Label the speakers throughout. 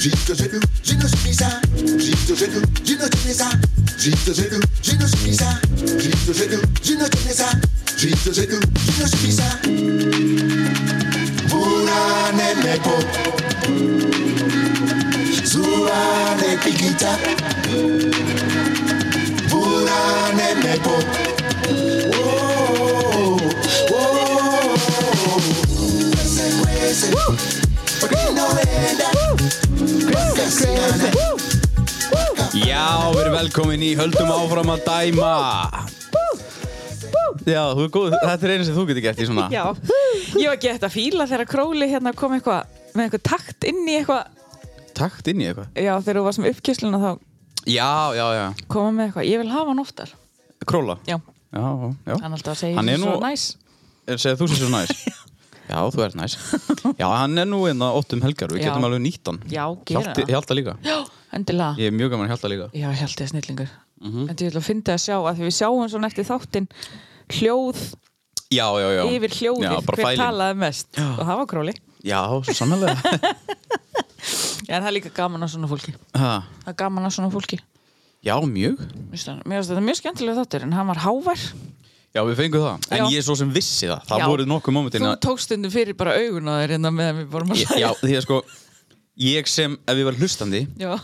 Speaker 1: Zito Zulu, Zino Spisa, Zito Zulu, Zino Tenesa, Zito Zulu, Zino Spisa, Zito Zulu, Zino Tenesa, Zito Zulu, Zino Spisa. Vura nenepo, zura ne pikita. Vura nenepo, oh oh oh oh. Crazy, crazy, but you know that. Crazy, crazy.
Speaker 2: Já, við erum velkomin í Höldum áfram að dæma Já, þú er góð, þetta er einu sem þú getur gert í svona
Speaker 3: Já, ég var ekki eftir að fíla þegar Króli hérna kom eitthvað með eitthvað takt inn í eitthvað
Speaker 2: Takt inn í eitthvað
Speaker 3: Já, þegar þú varst með uppkysluna þá
Speaker 2: Já, já, já,
Speaker 3: kom hann með eitthvað Ég vil hafa hann oftar
Speaker 2: króla
Speaker 3: Já,
Speaker 2: Já, já,
Speaker 3: hann alltaf segir
Speaker 2: Hann er
Speaker 3: svo
Speaker 2: nú-
Speaker 3: næs
Speaker 2: segðu þú sem svo næs Já, þú ert næs Já, hann er nú einna 8 um helgar, við
Speaker 3: Já.
Speaker 2: getum alveg nýtt hann
Speaker 3: Já, gera
Speaker 2: Hjalti-
Speaker 3: það.
Speaker 2: Hjalta líka
Speaker 3: Já, endilega
Speaker 2: Ég Mhm. er mjög gaman að hjalta líka
Speaker 3: Já, ég held ég að snillingur En ég vil að finna að sjá að því við sjáum svona eftir þáttinn hljóð
Speaker 2: Já, já, já
Speaker 3: yfir hljóðið
Speaker 2: Já, bara
Speaker 3: hver
Speaker 2: fælin
Speaker 3: talaði mest og það var Króli
Speaker 2: Já, svo sannlega
Speaker 3: En það er líka gaman að svona fólki
Speaker 2: Ha,
Speaker 3: Það er gaman að svona fólki
Speaker 2: Já, mjög
Speaker 3: Mér finnst það- mér finnst þetta mjög skemmtilega þáttur en hann var hávær
Speaker 2: Já, við fengum það En
Speaker 3: Já.
Speaker 2: ég er svo sem vissi það Það
Speaker 3: Já.
Speaker 2: voru hérna nokkuð mómentin
Speaker 3: Þú tókst stundum fyrir bara augun á þér innan meðan við vorum að
Speaker 2: Ég- Já, því að sko Ég sem, ef ég var hlustandi
Speaker 3: Já,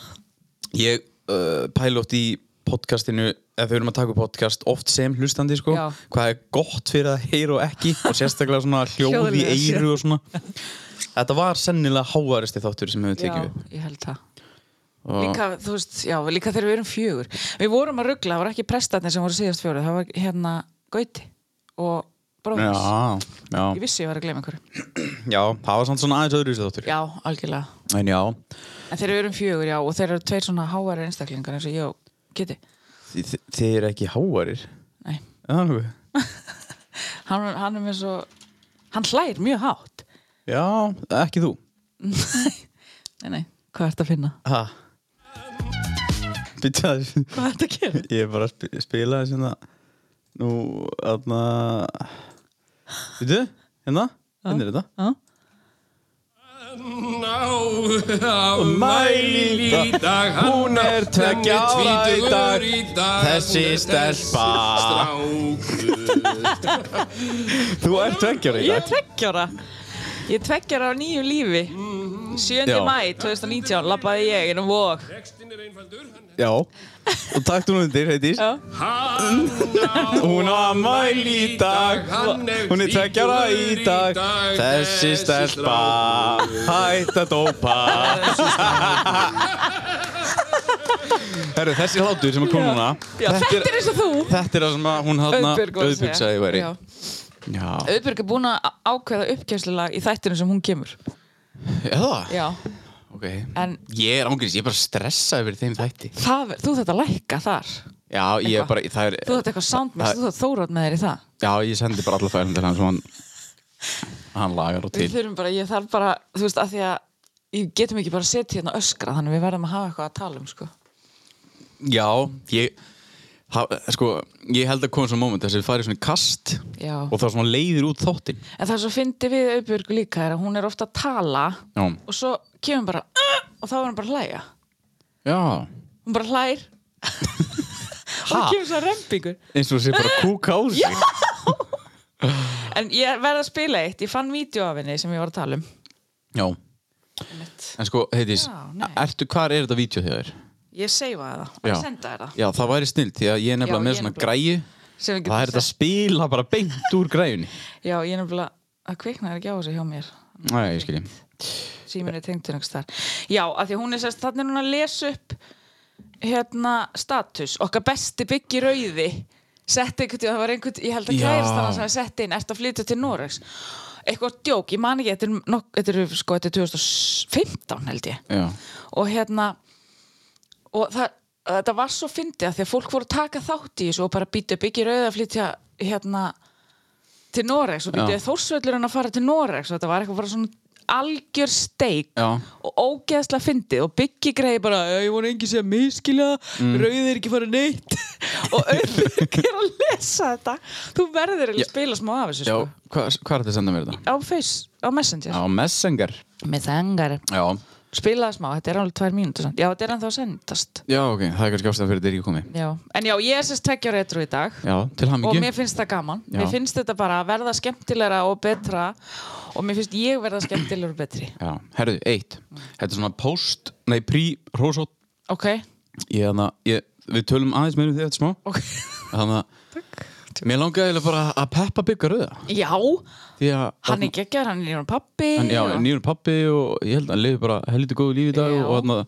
Speaker 2: Ég uh, pælótt í podcastinu Ef við erum að taka upp podcast Oft sem hlustandi, sko
Speaker 3: Já.
Speaker 2: Hvað er gott fyrir að heyra og ekki Og sérstaklega svona hljóð í
Speaker 3: Hljóðlega, já.
Speaker 2: eyru og svona Þetta var sennilega háaristi þáttur sem hefur tekið við
Speaker 3: ég held það
Speaker 2: Og-
Speaker 3: Líka, þú veist, já, líka þegar við erum fjögur Við vorum að ruggla, það var ekki prestatnir sem voru síðast fjóruð Það var hérna Gauti og Bróðis
Speaker 2: Já,
Speaker 3: Ég
Speaker 2: já,
Speaker 3: vissi ég var að gleyma einhverju
Speaker 2: já, það var samt svona aðeins öðru þáttur
Speaker 3: Já, algjörlega
Speaker 2: En já,
Speaker 3: En þeir eru um fjögur, já, og þeir eru tveir svona háari einstaklingar eins og ég og Kitty.
Speaker 2: þi- þi- þið eru ekki háarir
Speaker 3: Nei,
Speaker 2: Já, nú.
Speaker 3: hann, hann er með svo, hann hlær mjög hátt.
Speaker 2: Já, ekki þú
Speaker 3: Nei, nei, hvað ert að finna?
Speaker 2: Ha Býttu að
Speaker 3: Hvað ert að gera?
Speaker 2: Ég er bara að spi- spila þess hérna Nú, aðna Býttu, hérna Hérna er þetta
Speaker 3: Já,
Speaker 4: Ná,
Speaker 2: Mæl í dag, hún er tveggja ára í dag, þessi stelpa. Þú ert tveggjara í
Speaker 3: ég er
Speaker 2: dag
Speaker 3: tveggjara. Ég er tveggjara á nýju lífi. 7.
Speaker 2: Mhm. Já.
Speaker 3: mæ 2019 labbaði ég inn um vok.
Speaker 4: Textin er einfaldur, hann
Speaker 2: Já Og takk þú nú undir, heitís
Speaker 3: Já,
Speaker 4: Hann á
Speaker 2: Hún á mæl í dag
Speaker 4: Hann er
Speaker 2: Hún er tveggjara
Speaker 4: hvítur
Speaker 2: í dag Þessi stelpa Hætt að dópa Herru, þessi hlátur sem er komið núna
Speaker 3: já þetta er eins og þú.
Speaker 2: Þetta er það sem að hún hann
Speaker 3: Auðbjörg var að segja.
Speaker 2: Auðbjörg sagði væri
Speaker 3: Já.
Speaker 2: Já,
Speaker 3: Auðbjörg er búin að ákveða uppkjærslega í þættinu sem hún kemur.
Speaker 2: eða?
Speaker 3: Já,
Speaker 2: Ok.
Speaker 3: En-
Speaker 2: Ég er ángurins, ég er bara stressað yfir þeim þætti.
Speaker 3: það, þú þetta lækka þar.
Speaker 2: Já, ég er bara, það er...
Speaker 3: Þú þetta eitthvað soundmess,
Speaker 2: Það-
Speaker 3: þú þetta þórat með þér í það.
Speaker 2: Já, ég sendi bara alla fælum til hann sem hann, hann lagar og til.
Speaker 3: Við þurfum bara, ég þarf bara, þú veist, að því að ég getum ekki bara að setja hérna og öskra þannig við verðum að hafa eitthvað að tala um, sko.
Speaker 2: Já, ég... Ha, sko, ég held að koma svona moment þess að við farið svona í kast
Speaker 3: Já.
Speaker 2: og það svona leiðir út þáttinn.
Speaker 3: En það sem fyndi við auðbjörgu líka er að hún er ofta að tala
Speaker 2: Já.
Speaker 3: og svo kemur bara "Ah!" og þá er hún bara að hlæja.
Speaker 2: Já.
Speaker 3: Hún bara hlær og það kemur svo rempingur.
Speaker 2: Eins og sé bara kúka á sig. Já.
Speaker 3: En ég verð að spila eitt, ég fann vídeo af henni sem ég var að tala um.
Speaker 2: En sko, heitís,
Speaker 3: Já, nei.
Speaker 2: ertu, hvar er þetta vídeo þegar?
Speaker 3: Ég seifaði það og
Speaker 2: Já.
Speaker 3: ég sendaði það.
Speaker 2: Já, það væri snill, því að ég er nefnilega
Speaker 3: Já,
Speaker 2: með
Speaker 3: ég er
Speaker 2: svona
Speaker 3: nefnilega-
Speaker 2: græju
Speaker 3: Sem
Speaker 2: Það
Speaker 3: við
Speaker 2: er
Speaker 3: getum
Speaker 2: þetta að spila bara beint úr græjunni
Speaker 3: Já, ég er nefnilega, það kviknaði ekki á þessu hjá mér.
Speaker 2: Næja, ég skilji
Speaker 3: síminni tengdur einhvers þar já, af því hún er sérst, þannig er hún að lesa upp hérna status okkar besti byggi rauði sett einhvern tíu, það var einhvern ég held að
Speaker 2: Já.
Speaker 3: kærast þannig sem að sett inn, ert að flytja til Noregs eitthvað djók, ég man ekki þetta er, nokk, þetta er, sko, þetta er 2015 held ég
Speaker 2: Já,
Speaker 3: og hérna og það, þetta var svo fyndið að því að fólk voru að taka þátt í þessu og bara býta byggi rauði að flytja hérna til Noregs og
Speaker 2: Já.
Speaker 3: býtið þórsvöllurinn að fara til Noregs og þetta var eitthvað bara svona algjör steik
Speaker 2: já,
Speaker 3: og ógeðslega fyndið og Biggi greiði bara, "Já, ég vona engi sé að miskilja mm. rauðið er ekki fara neitt og auðvitað er að lesa þetta þú verður eiginlega að
Speaker 2: Já.
Speaker 3: spila smá af þessu
Speaker 2: já
Speaker 3: sko.
Speaker 2: Hvað hva er þetta að senda mér þetta?
Speaker 3: á Face, á Messenger
Speaker 2: Já, Messenger
Speaker 3: með þengar,
Speaker 2: Já,
Speaker 3: spilaði smá, þetta er alveg tvær mínútur samt. já, þetta er ennþá að sendast
Speaker 2: Já, ok, það er kannski ástæðan fyrir þetta er ekki komið.
Speaker 3: já. en já, ég er sérst tekja retro í dag
Speaker 2: Já, til
Speaker 3: og
Speaker 2: hamingju.
Speaker 3: mér finnst það gaman
Speaker 2: Já.
Speaker 3: mér finnst þetta bara að verða skemmtilegra og betra og mér finnst ég verða skemmtilegra og betri
Speaker 2: Já, herðu, eitt. Þetta er svona post, nei, pre-rósótt.
Speaker 3: ok,
Speaker 2: Ég, hana, ég, við tölum aðeins meira um því þetta smá.
Speaker 3: ok
Speaker 2: Þannig að mér langaði eiginlega bara að peppa bygga rauða.
Speaker 3: já,
Speaker 2: Því að
Speaker 3: hann er geggjör, hann er nýjum pappi
Speaker 2: hann, já,
Speaker 3: og-
Speaker 2: nýjur pappi og ég held að hann lifi bara helviti góðu lífi í dag
Speaker 3: Já.
Speaker 2: og hann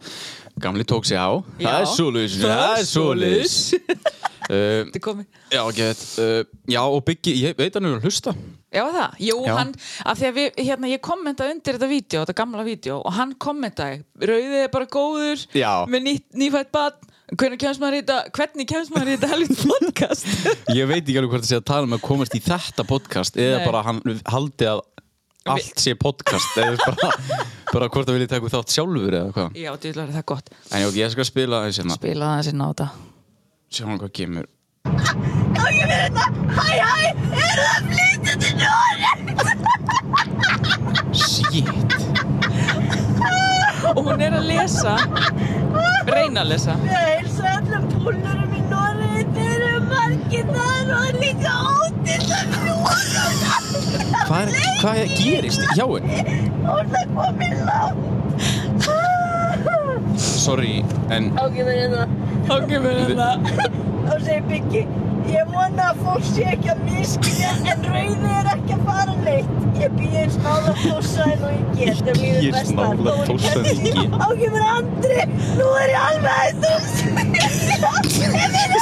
Speaker 2: gamli tók sig á
Speaker 3: Já.
Speaker 2: það er svoleiðis það er svoleiðis uh,
Speaker 3: Þetta er komið.
Speaker 2: já, get, uh, já og Biggi, ég veit hann er að hlusta
Speaker 3: Já það, jú
Speaker 2: Já.
Speaker 3: hann af því að við, hérna, ég kommentaði undir þetta vídeo, þetta gamla vídeo og hann kommentaði, rauðið er bara góður
Speaker 2: Já.
Speaker 3: með nýtt, nýfætt badn hvernig kemst maður í þetta, hvernig kemst maður í þetta helvitt podcast
Speaker 2: ég veit ekki alveg hvort það sé að tala um að komast í þetta podcast eða
Speaker 3: Nei.
Speaker 2: bara hann haldi að allt sé podcast eða bara, bara hvort það vilja taka þátt sjálfur eða hvað
Speaker 3: Já, djúlega er það gott
Speaker 2: en já, ég skal spila aðeins hérna
Speaker 3: Bila aðeins inn á þetta
Speaker 2: sjáum hvað kemur
Speaker 5: Gangi mér þetta! Hæ, hæ! Eru það flytja til Nóri?
Speaker 2: shit
Speaker 3: Og hún er að lesa Reina að lesa
Speaker 5: Ég heilsa öllum púlurum í Nóri. Þeir eru margir þar og er líka ódýrt að um fljúa.
Speaker 2: hvað, er, hvað gerist eh, hjá henn?
Speaker 5: Hún er það komið langt.
Speaker 2: sorry, en
Speaker 5: Gangi mér þetta.
Speaker 3: Ok, við erum það
Speaker 5: Og segir Byggi, ég vona að fólk sé ekki að miskja en rauði er ekki að fara neitt. Ég býð eins nála tósaðin og ég get. Það er
Speaker 2: Býð eins
Speaker 5: mjög besta.
Speaker 2: nálægt Þórsarann og ég get.
Speaker 5: Á kemur Andri, nú er ég alveg að þús. Ég finn að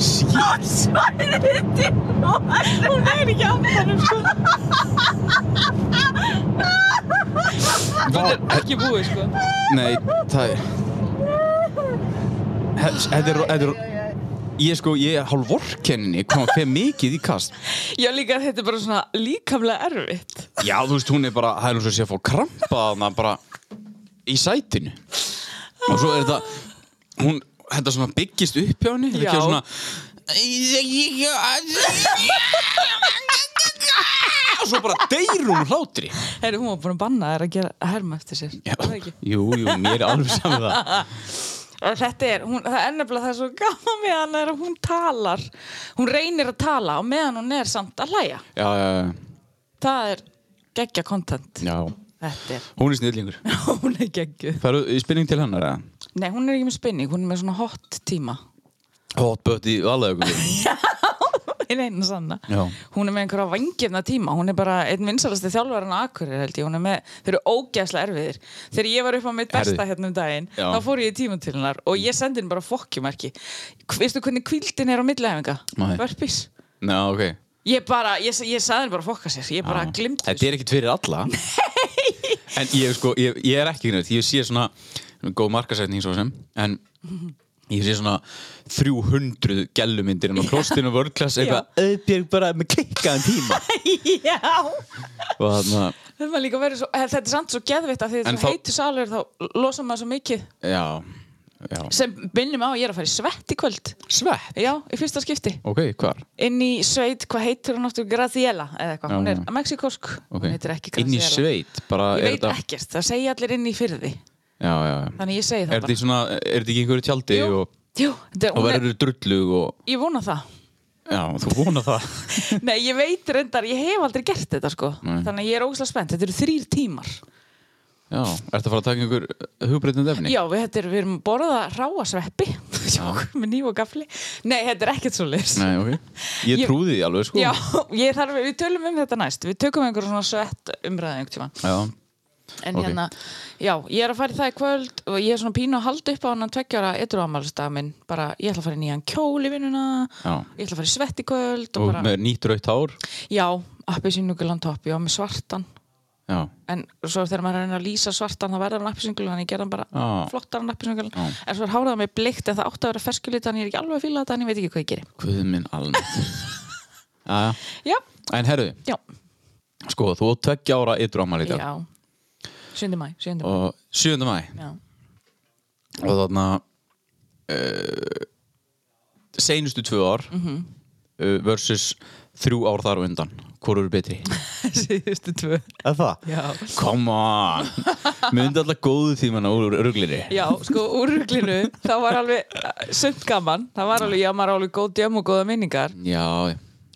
Speaker 2: shit
Speaker 5: tósaðin til Nóri. Hún er ekki að fara neitt.
Speaker 3: sko.
Speaker 2: Vá,
Speaker 3: Ekki búið sko
Speaker 2: Nei, það er He- Þetta er, þetta er, ég sko, ég er hálf vorkenninni, hvað hann fer mikið í kast
Speaker 3: Já líka þetta er bara svona líkamlega erfitt
Speaker 2: Já, þú veist, hún er bara, það er eins og sé að fá krampa þarna bara í sætinu Og svo er þetta, hún, þetta svona byggist upp hjá henni Þetta
Speaker 3: Já.
Speaker 2: kemur svona Og svo bara deyr hún úr hlátri
Speaker 3: Herri, hún var búin að banna þær að gera að herma eftir sér
Speaker 2: Já,
Speaker 3: Er það ekki?
Speaker 2: Jú, jú, mér er alveg saman það
Speaker 3: Og Þetta er, hún, það er nefnilega það er svo gaman með hann er að hún talar hún reynir að tala og meðan hún er samt að hlæja
Speaker 2: Já, já, já,
Speaker 3: það er geggja content
Speaker 2: já,
Speaker 3: þetta er,
Speaker 2: hún er snillingur
Speaker 3: hún er geggju
Speaker 2: Færu í spilning til hennar, eða?
Speaker 3: nei hún er ekki með spinning, hún er með svona hot tíma
Speaker 2: Hotbött í valaðugum
Speaker 3: hinn eina sanna
Speaker 2: Já.
Speaker 3: hún er með einhverja vangefna tíma hún er bara einn vinsalasti þjálfarinn á Akureyri held ég hún er með, þeir eru ógæslega erfiðir þegar ég var upp á mitt besta
Speaker 2: Herði.
Speaker 3: hérna um daginn
Speaker 2: Já.
Speaker 3: þá fór ég í tíma til hennar og ég sendi henni bara fokkjumarki veistu hvernig kvildin er á millihæfinga?
Speaker 2: Nei.
Speaker 3: burpees
Speaker 2: Ná, ok
Speaker 3: ég bara, ég, ég saði henni bara að fokka sér ég bara
Speaker 2: Já.
Speaker 3: glimti
Speaker 2: Þetta er ekkit fyrir alla Nei En ég, sko, ég, ég er ekki neitt Ég sé svona, góð markasætning svo sem En ég sé svona 300 gællumyndir En á klostinu vörklass eitthvað Öðbjörg bara með klikkaðan tíma
Speaker 3: já
Speaker 2: Og þarna,
Speaker 3: Það var líka verið svo, eh, þetta er samt svo geðvitt af því
Speaker 2: En
Speaker 3: þetta
Speaker 2: þá-
Speaker 3: heitu salur þá losa maður svo mikið
Speaker 2: já, já
Speaker 3: sem minnum á að ég er að fara í svett í kvöld
Speaker 2: Svett
Speaker 3: Já, í fyrsta skipti
Speaker 2: Ok, hvar?
Speaker 3: Inn í sveit, hvað heitir hún áttu? Graziella eða eitthvað,
Speaker 2: Já,
Speaker 3: hún er
Speaker 2: já.
Speaker 3: mexikosk
Speaker 2: Ok.
Speaker 3: Hún heitir ekki
Speaker 2: Inn í
Speaker 3: Graziella
Speaker 2: sveit bara,
Speaker 3: Ég
Speaker 2: er
Speaker 3: veit
Speaker 2: þetta-
Speaker 3: ekkert, það segja allir inn í fyrði
Speaker 2: Já, já, já
Speaker 3: Þannig ég segi það
Speaker 2: Er þetta í svona, er þetta ekki í einhverju tjaldi
Speaker 3: Jú,
Speaker 2: og,
Speaker 3: jú, þetta,
Speaker 2: og
Speaker 3: hún er,
Speaker 2: verður drullug og,
Speaker 3: ég vona það
Speaker 2: já, þú vona það
Speaker 3: Nei, ég veit reyndar, ég hef aldrei gert þetta sko
Speaker 2: Nei.
Speaker 3: Þannig að ég er óslega spennt, þetta eru þrýr tímar
Speaker 2: Já, ertu að fara að taka einhver hugbreytnum efni?
Speaker 3: Já, við, þetta er, við erum að borða ráa sveppi Jók, með nýf og gafli Nei, þetta er ekkert svo
Speaker 2: Nei, ok. Ég
Speaker 3: Ég-
Speaker 2: trúði því alveg, sko.
Speaker 3: Já, ég þarf, við tölum um þetta næst Við tökum einhverjum svona svett umræði einhvern tíma
Speaker 2: Já.
Speaker 3: En
Speaker 2: Ok.
Speaker 3: hérna, já, ég er að fara í það í kvöld og ég er svona pínu að halda upp á hann tveggjara ytru ámælstag minn, bara ég ætla að fara í nýjan kjól í vinnuna,
Speaker 2: Já.
Speaker 3: ég ætla að fara í svett í kvöld og,
Speaker 2: Og
Speaker 3: bara,
Speaker 2: með nýtt raukt hár.
Speaker 3: já, appi sínugulan topp, já, með svartan
Speaker 2: Já.
Speaker 3: en svo þegar maður er að reyna að lýsa svartan þá verður hann appisungul, þannig ég gerði hann bara
Speaker 2: Já.
Speaker 3: flottar hann appisungul,
Speaker 2: Já.
Speaker 3: en svo er hárað mig bleikt en það átti að vera ferskulit, þannig ég er ekki alveg að fíla þetta en ég veit ekki hvað ég geri.
Speaker 2: Guð minn almennt. Já, já.
Speaker 3: Já,
Speaker 2: En herru,
Speaker 3: já,
Speaker 2: sko, þú átt tveggja ára yttur ámæli í dag.
Speaker 3: já 7. mæ, 7. mæ
Speaker 2: Og 7. mæ.
Speaker 3: Já.
Speaker 2: Og þarna, eh, uh,
Speaker 3: Mhm.
Speaker 2: seinustu tvö ár mm versus þrjú ár þar og undan hvort eru betri
Speaker 3: síðustu tvö
Speaker 6: Er það?
Speaker 3: já.
Speaker 2: come on myndi alltaf góðu tímana úr rugliri
Speaker 3: já, sko, úr ruglinu þá var alveg uh, sumt gaman það var alveg, já, maður var alveg góð djömm og góða minningar
Speaker 2: já,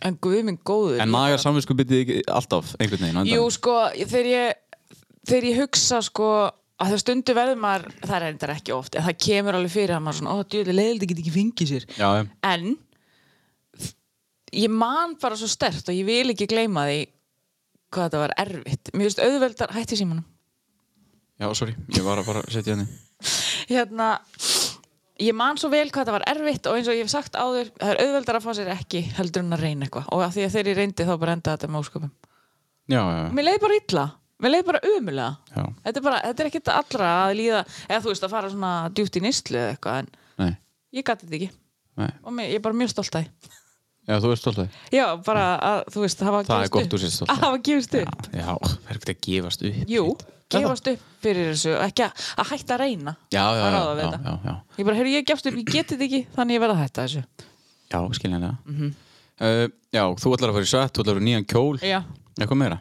Speaker 3: en guð minn góður
Speaker 2: en nagar samvisku betið ekki alltaf einhvern veginn á endanum.
Speaker 3: Jú, sko, þegar ég, þegar ég hugsa, sko, að það stundu verður maður, það er reyndar ekki oft, en það kemur alveg fyrir að maður svona, ó, djúli, leiðildi get ekki fengið sér.
Speaker 2: Já, já.
Speaker 3: En ég man bara svo stert og ég vil ekki gleyma því hvað þetta var erfitt. Mér finnst auðveldar, hætti símanum.
Speaker 2: já, sorry, ég var að bara setja henni
Speaker 3: Hérna, ég man svo vel hvað þetta var erfitt og eins og ég hef sagt áður, það er auðveldar að fá sér ekki heldur en að reyna eitthvað. Og af því að þegar ég reyndi þá bara endaði þetta með ósköpum.
Speaker 2: já, já, já.
Speaker 3: Mér leiði bara illa Mér leiði bara umulega
Speaker 2: Já.
Speaker 3: þetta er, bara, þetta er ekkit allra að líða eða þú veist að fara svona djúpt í nýstlu eða eitthvað en
Speaker 2: Nei,
Speaker 3: ég gæti þetta ekki
Speaker 2: nei.
Speaker 3: og mér, ég er bara mjög stolt að
Speaker 2: já, þú ert alltaf
Speaker 3: Já, bara að þú veist hafa
Speaker 2: Það er
Speaker 3: gefist
Speaker 2: gott
Speaker 3: upp.
Speaker 2: þú sért stolt af.
Speaker 3: Að hafa gefist upp
Speaker 2: já, það er ekkert að gefast upp
Speaker 3: Jú, gefast upp fyrir þessu og ekki að, að hætta að reyna
Speaker 2: já, já,
Speaker 3: að
Speaker 2: já,
Speaker 3: ráða við
Speaker 2: já,
Speaker 3: þetta
Speaker 2: já, já.
Speaker 3: Ég bara, heyrðu, ég gefst upp, ég geti þetta ekki þannig ég verð að hætta þessu
Speaker 2: Já, skiljanlega uh, Já, þú ætlar að fara í sött, þú ætlar að fara í nýjan kjól
Speaker 3: Mhm. Já.
Speaker 2: Eitthvað meira?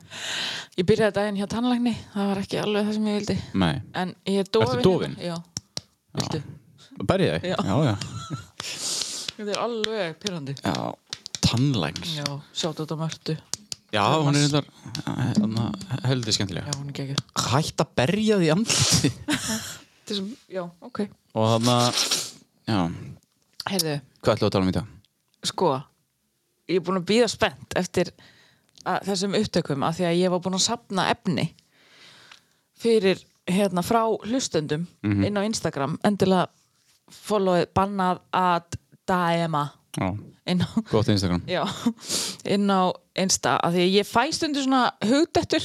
Speaker 3: Ég byrjaði daginn hjá tannlækni, það var ekki alveg það sem ég vildi
Speaker 2: Nei,
Speaker 3: en ég er dofin
Speaker 2: dofin?
Speaker 3: Já, viltu?
Speaker 2: berði þig?
Speaker 3: Já.
Speaker 2: já, já.
Speaker 3: Þetta er alveg pyrrandi
Speaker 2: já Tannlægns
Speaker 3: Já, sjátt út á mörtu
Speaker 2: Já, hún er reyndar eh, þarna, heldur skemmtilega
Speaker 3: Já, hún er geggjöð
Speaker 2: Hætt að berja því andliti
Speaker 3: Þessum, já, ok
Speaker 2: Og þannig að Já,
Speaker 3: Heyrðu,
Speaker 2: hvað ætlum við að tala um í dag?
Speaker 3: sko Ég er búin að býða spennt eftir að, þessum upptökum af því að ég var búin að sapna efni fyrir hérna frá hlustendum inn á Instagram endilega followið bannað að dæma
Speaker 2: Já,
Speaker 3: inn á,
Speaker 2: gott Instagram
Speaker 3: já, inn á Insta af því að ég fæ stundu svona hugdettur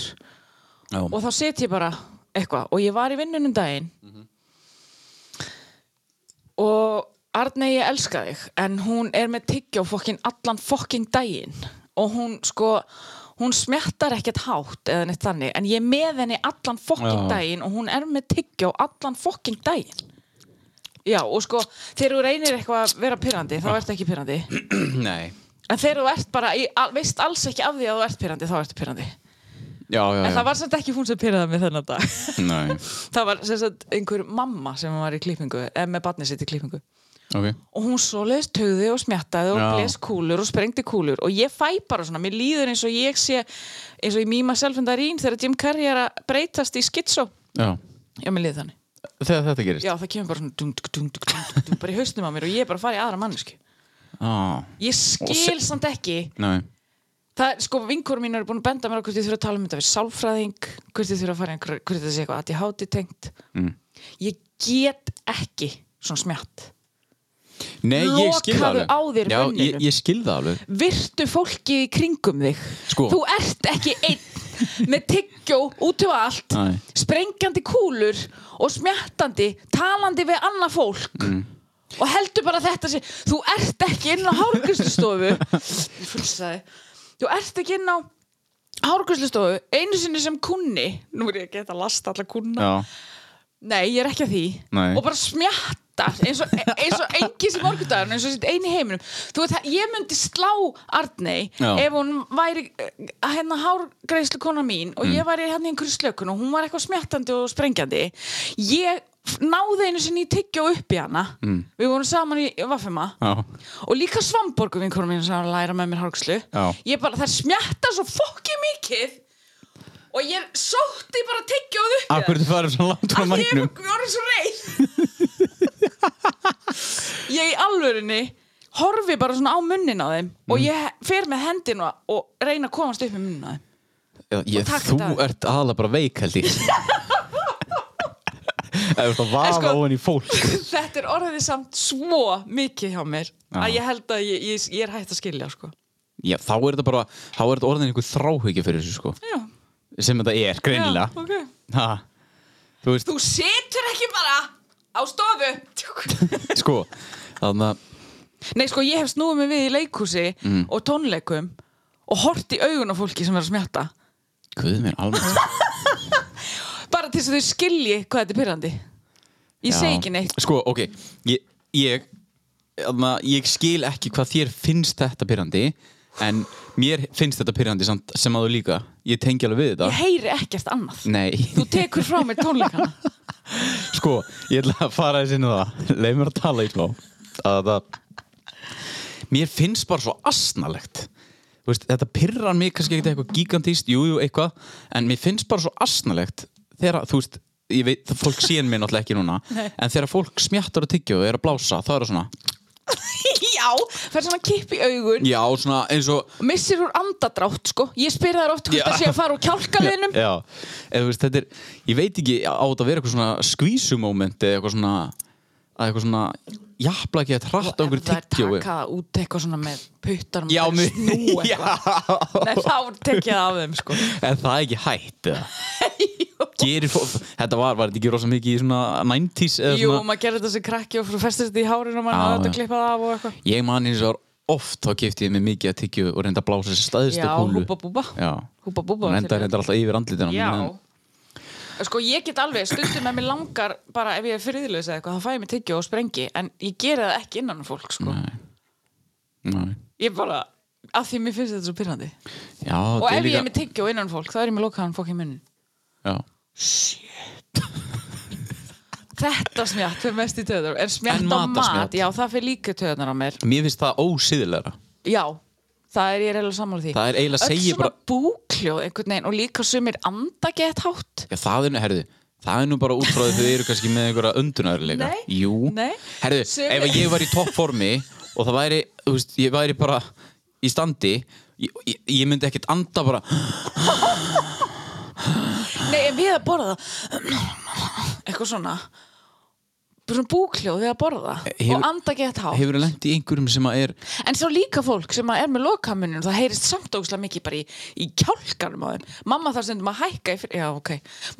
Speaker 2: Já,
Speaker 3: og þá set ég bara eitthvað og ég var í vinnunum daginn og Arne ég elska þig en hún er með tyggjó fokkin allan fokkin daginn og hún sko hún smjattar ekkert hátt eða neitt þannig en ég er með henni allan
Speaker 2: Já.
Speaker 3: fokkin daginn og hún er með tyggjó allan fokkin daginn Já, og sko, þegar þú reynir eitthvað að vera pyrrandi, þá ertu ekki pyrrandi.
Speaker 2: nei
Speaker 3: En þegar þú ert bara, í, al, veist alls ekki af því að þú ert pyrrandi, þá ertu pyrrandi.
Speaker 2: Já, já,
Speaker 3: En
Speaker 2: já
Speaker 3: það var samt ekki hún sem pyrraði mig þennan dag.
Speaker 2: Nei,
Speaker 3: Það var sem sagt einhver mamma sem var í klippingu, eða með barnið sitt í klippingu.
Speaker 2: ok
Speaker 3: Og hún svo leðist tögði og smjattaði og
Speaker 2: Já.
Speaker 3: bles kúlur og sprengdi kúlur. Og ég fæ bara svona, mér líður eins og ég sé, eins og ég mýma selfundarín þegar Jim Carrey er að breytast í skitsó.
Speaker 2: Já,
Speaker 3: Já, mér líður þannig.
Speaker 2: þegar þetta gerist
Speaker 3: Já, það kemur bara svona dung, dung, dung, dung, dung, dung, bara í hausnum á mér og ég er bara að fara í aðra mannesku.
Speaker 2: Já,
Speaker 3: Ég skil samt ekki
Speaker 2: Ah, nei
Speaker 3: Það er sko, vinkur mín eru búin að benda mér á hvort ég þurfa að tala um þetta við sálfræðing, hvort ég þurfa að fara í einhver, hvort þetta sé eitthvað að ég háti tengt.
Speaker 2: Mm.
Speaker 3: Ég get ekki svona smjatt.
Speaker 2: Nei, ég skil það
Speaker 3: Lokaðu
Speaker 2: alveg
Speaker 3: á þér
Speaker 2: Já, ég,
Speaker 3: munninum.
Speaker 2: ég skil það alveg
Speaker 3: Virtu fólki í kringum þig.
Speaker 2: Sko.
Speaker 3: Þú ert ekki einn með tyggjó út um allt,
Speaker 2: Nei.
Speaker 3: sprengjandi kúlur og smjattandi, talandi við annað fólk.
Speaker 2: Mm.
Speaker 3: Og heldur bara þetta sé, þú ert ekki inn á hálgustustofu. Ég fullsaði. Þú ert ekki inn á hálgustustofu, einu sinni sem kunni. Nú er ég ekki að lasta alla kunna.
Speaker 2: Já,
Speaker 3: Nei, ég er ekki að því
Speaker 2: Nei.
Speaker 3: Og bara smjattar eins og, eins og engi sem morgundagurinn eins og sitt eini í heiminum Þú veit, ég myndi slá Arnei
Speaker 2: Já.
Speaker 3: ef hún væri eh, hérna hárgreislu kona mín
Speaker 2: Mm.
Speaker 3: og ég væri hérna í einhverju slökun og hún var eitthvað smjattandi og sprengjandi Ég f- náði einu sinni í tyggja upp í hana mm. Við vorum saman í Vaffema
Speaker 2: já,
Speaker 3: og líka Svamborgu vinkonum mín sem var að læra með mér hárgslu
Speaker 2: Já.
Speaker 3: ég bara, það smjatta svo fokki mikið og ég sótti bara tyggjóð upp í það.
Speaker 2: Akkur þú farið svona langt frá
Speaker 3: Af því
Speaker 2: mæknum
Speaker 3: Ég er orðin svo reið Ég í alvörinni horfi bara svona á munnin á þeim og ég fer með hendin og, og reyna að komast upp með munnin á þeim
Speaker 2: Já, ég,
Speaker 3: taka
Speaker 2: þú
Speaker 3: þetta.
Speaker 2: ert aðalega bara veik held ég Það er svona
Speaker 3: En
Speaker 2: vafa
Speaker 3: sko-
Speaker 2: ofan í fólk
Speaker 3: Þetta er orðið samt svo mikið hjá mér að ég held að ég, ég, ég er hægt að skilja sko.
Speaker 2: Já, þá er þetta bara, þá er þetta orðin einhver þráhyggja fyrir þessu sko
Speaker 3: Já,
Speaker 2: sem þetta er,
Speaker 3: já
Speaker 2: greinilega
Speaker 3: ok
Speaker 2: ha, Þú veist,
Speaker 3: Þú situr ekki bara á stofu
Speaker 2: sko þannig að,
Speaker 3: Nei sko, ég hef snúið mig við í leikhúsi og tónleikum og hort í augun á fólki sem er að smjatta
Speaker 2: guð mér alveg
Speaker 3: bara til þess að þau skilji hvað þetta er pyrrandi ég segi ekki neitt
Speaker 2: Sko, ok, ég, ég, þarna, ég skil ekki hvað þér finnst þetta pyrrandi en mér finnst þetta pyrrandi samt sem áður líka ég tengi alveg við þetta
Speaker 3: Ég heyri ekkert annað
Speaker 2: nei,
Speaker 3: Þú tekur frá mér tónleikana
Speaker 2: sko, ég ætla að fara þess inn á það leið mér að tala í smá að það mér finnst bara svo asnalegt Þú veist, þetta pyrrar mig kannski ekkert eitthvað gigantíst, jú, jú, eitthvað en mér finnst bara svo asnalegt þegar, þú veist, ég veit, fólk sér mér náttúrulega ekki núna, en þegar fólk smjattar og tyggja og er að blása, það er það svona
Speaker 3: Já, fer svona kipp í augun
Speaker 2: Já, svona eins og
Speaker 3: og missir úr andadrátt sko ég spyr þær oft hvort
Speaker 2: Já.
Speaker 3: það sé að fara úr kjálkaliðnum
Speaker 2: Já, eða þú veist, þetta er Ég veit ekki á þetta að vera eitthvað svona skvísumóment eða eitthvað svona að eitthvað svona jafnla ekki að trætta okkur
Speaker 3: það er
Speaker 2: tyggjói
Speaker 3: taka það út eitthvað svona með puttar
Speaker 2: Já, mér-
Speaker 3: snú
Speaker 2: Já.
Speaker 3: eitthvað Nei, þá tek ég það af þeim sko
Speaker 2: En það er ekki hætt eða Gerir fólk Þetta var, var þetta ekki rosa mikið í svona 90s eða
Speaker 3: Jú,
Speaker 2: svona
Speaker 3: maður gerir þetta sem krakki og frú festist í hárinu og maður
Speaker 2: Já,
Speaker 3: hafði þetta
Speaker 2: já.
Speaker 3: klippað af og eitthvað
Speaker 2: Ég man hins vegar oft þá kefti ég mig mikið að tyggjói og reynda að blása þessi staðistu
Speaker 3: Já,
Speaker 2: kúlu
Speaker 3: húpa búba
Speaker 2: Já
Speaker 3: Húpa búba
Speaker 2: Og reynda reyndar alltaf yfir andlitinu á mér,
Speaker 3: Já
Speaker 2: en-
Speaker 3: Sko ég get alveg, stundum með mér langar bara ef ég er friðlaus eða eitthvað, þá fæ ég mig tyggja og sprengi en ég geri það ekki innan um fólk sko.
Speaker 2: Nei.
Speaker 3: ég bara, af því mér finnst þetta svo pyrrandi
Speaker 2: Já,
Speaker 3: og
Speaker 2: þetta er
Speaker 3: ef ég
Speaker 2: líka
Speaker 3: er með tyggja og innan um fólk þá er ég með lokaðan fólk í munnin
Speaker 2: Já,
Speaker 3: Þetta smjátt fyrir mest í töðar en smjátt
Speaker 2: En
Speaker 3: á
Speaker 2: matarsmjatt.
Speaker 3: mat, já það fyrir líka töðarnar á mér
Speaker 2: Mér finnst það ósýðilega
Speaker 3: Já, það er ég er eiginlega sammála því
Speaker 2: Það er eiginlega að
Speaker 3: Öll
Speaker 2: segja
Speaker 3: svona
Speaker 2: bara
Speaker 3: búkljóð einhvern veginn og líka sumir anda gett hátt
Speaker 2: Já, það er nú, herðu, það er nú bara útráðið þau eru kannski með einhverja öndunarleika.
Speaker 3: Nei,
Speaker 2: Jú.
Speaker 3: nei.
Speaker 2: Herðu,
Speaker 3: Sum-
Speaker 2: ef ég var í toppformi og það væri, þú veist, ég væri bara í standi, ég, ég, ég myndi ekkert anda bara,
Speaker 3: Nei, en við að borða eitthvað svona bara svona búkljóð við að borða
Speaker 2: Hefur-
Speaker 3: og anda gett hátt
Speaker 2: hefur lent í einhverjum sem að er,
Speaker 3: En svo líka fólk sem að er með lokamunum það heyrist samtókslega mikið bara í, í kjálkanum á þeim. Mamma þarf stundum að hækka í, fyr- já, ok.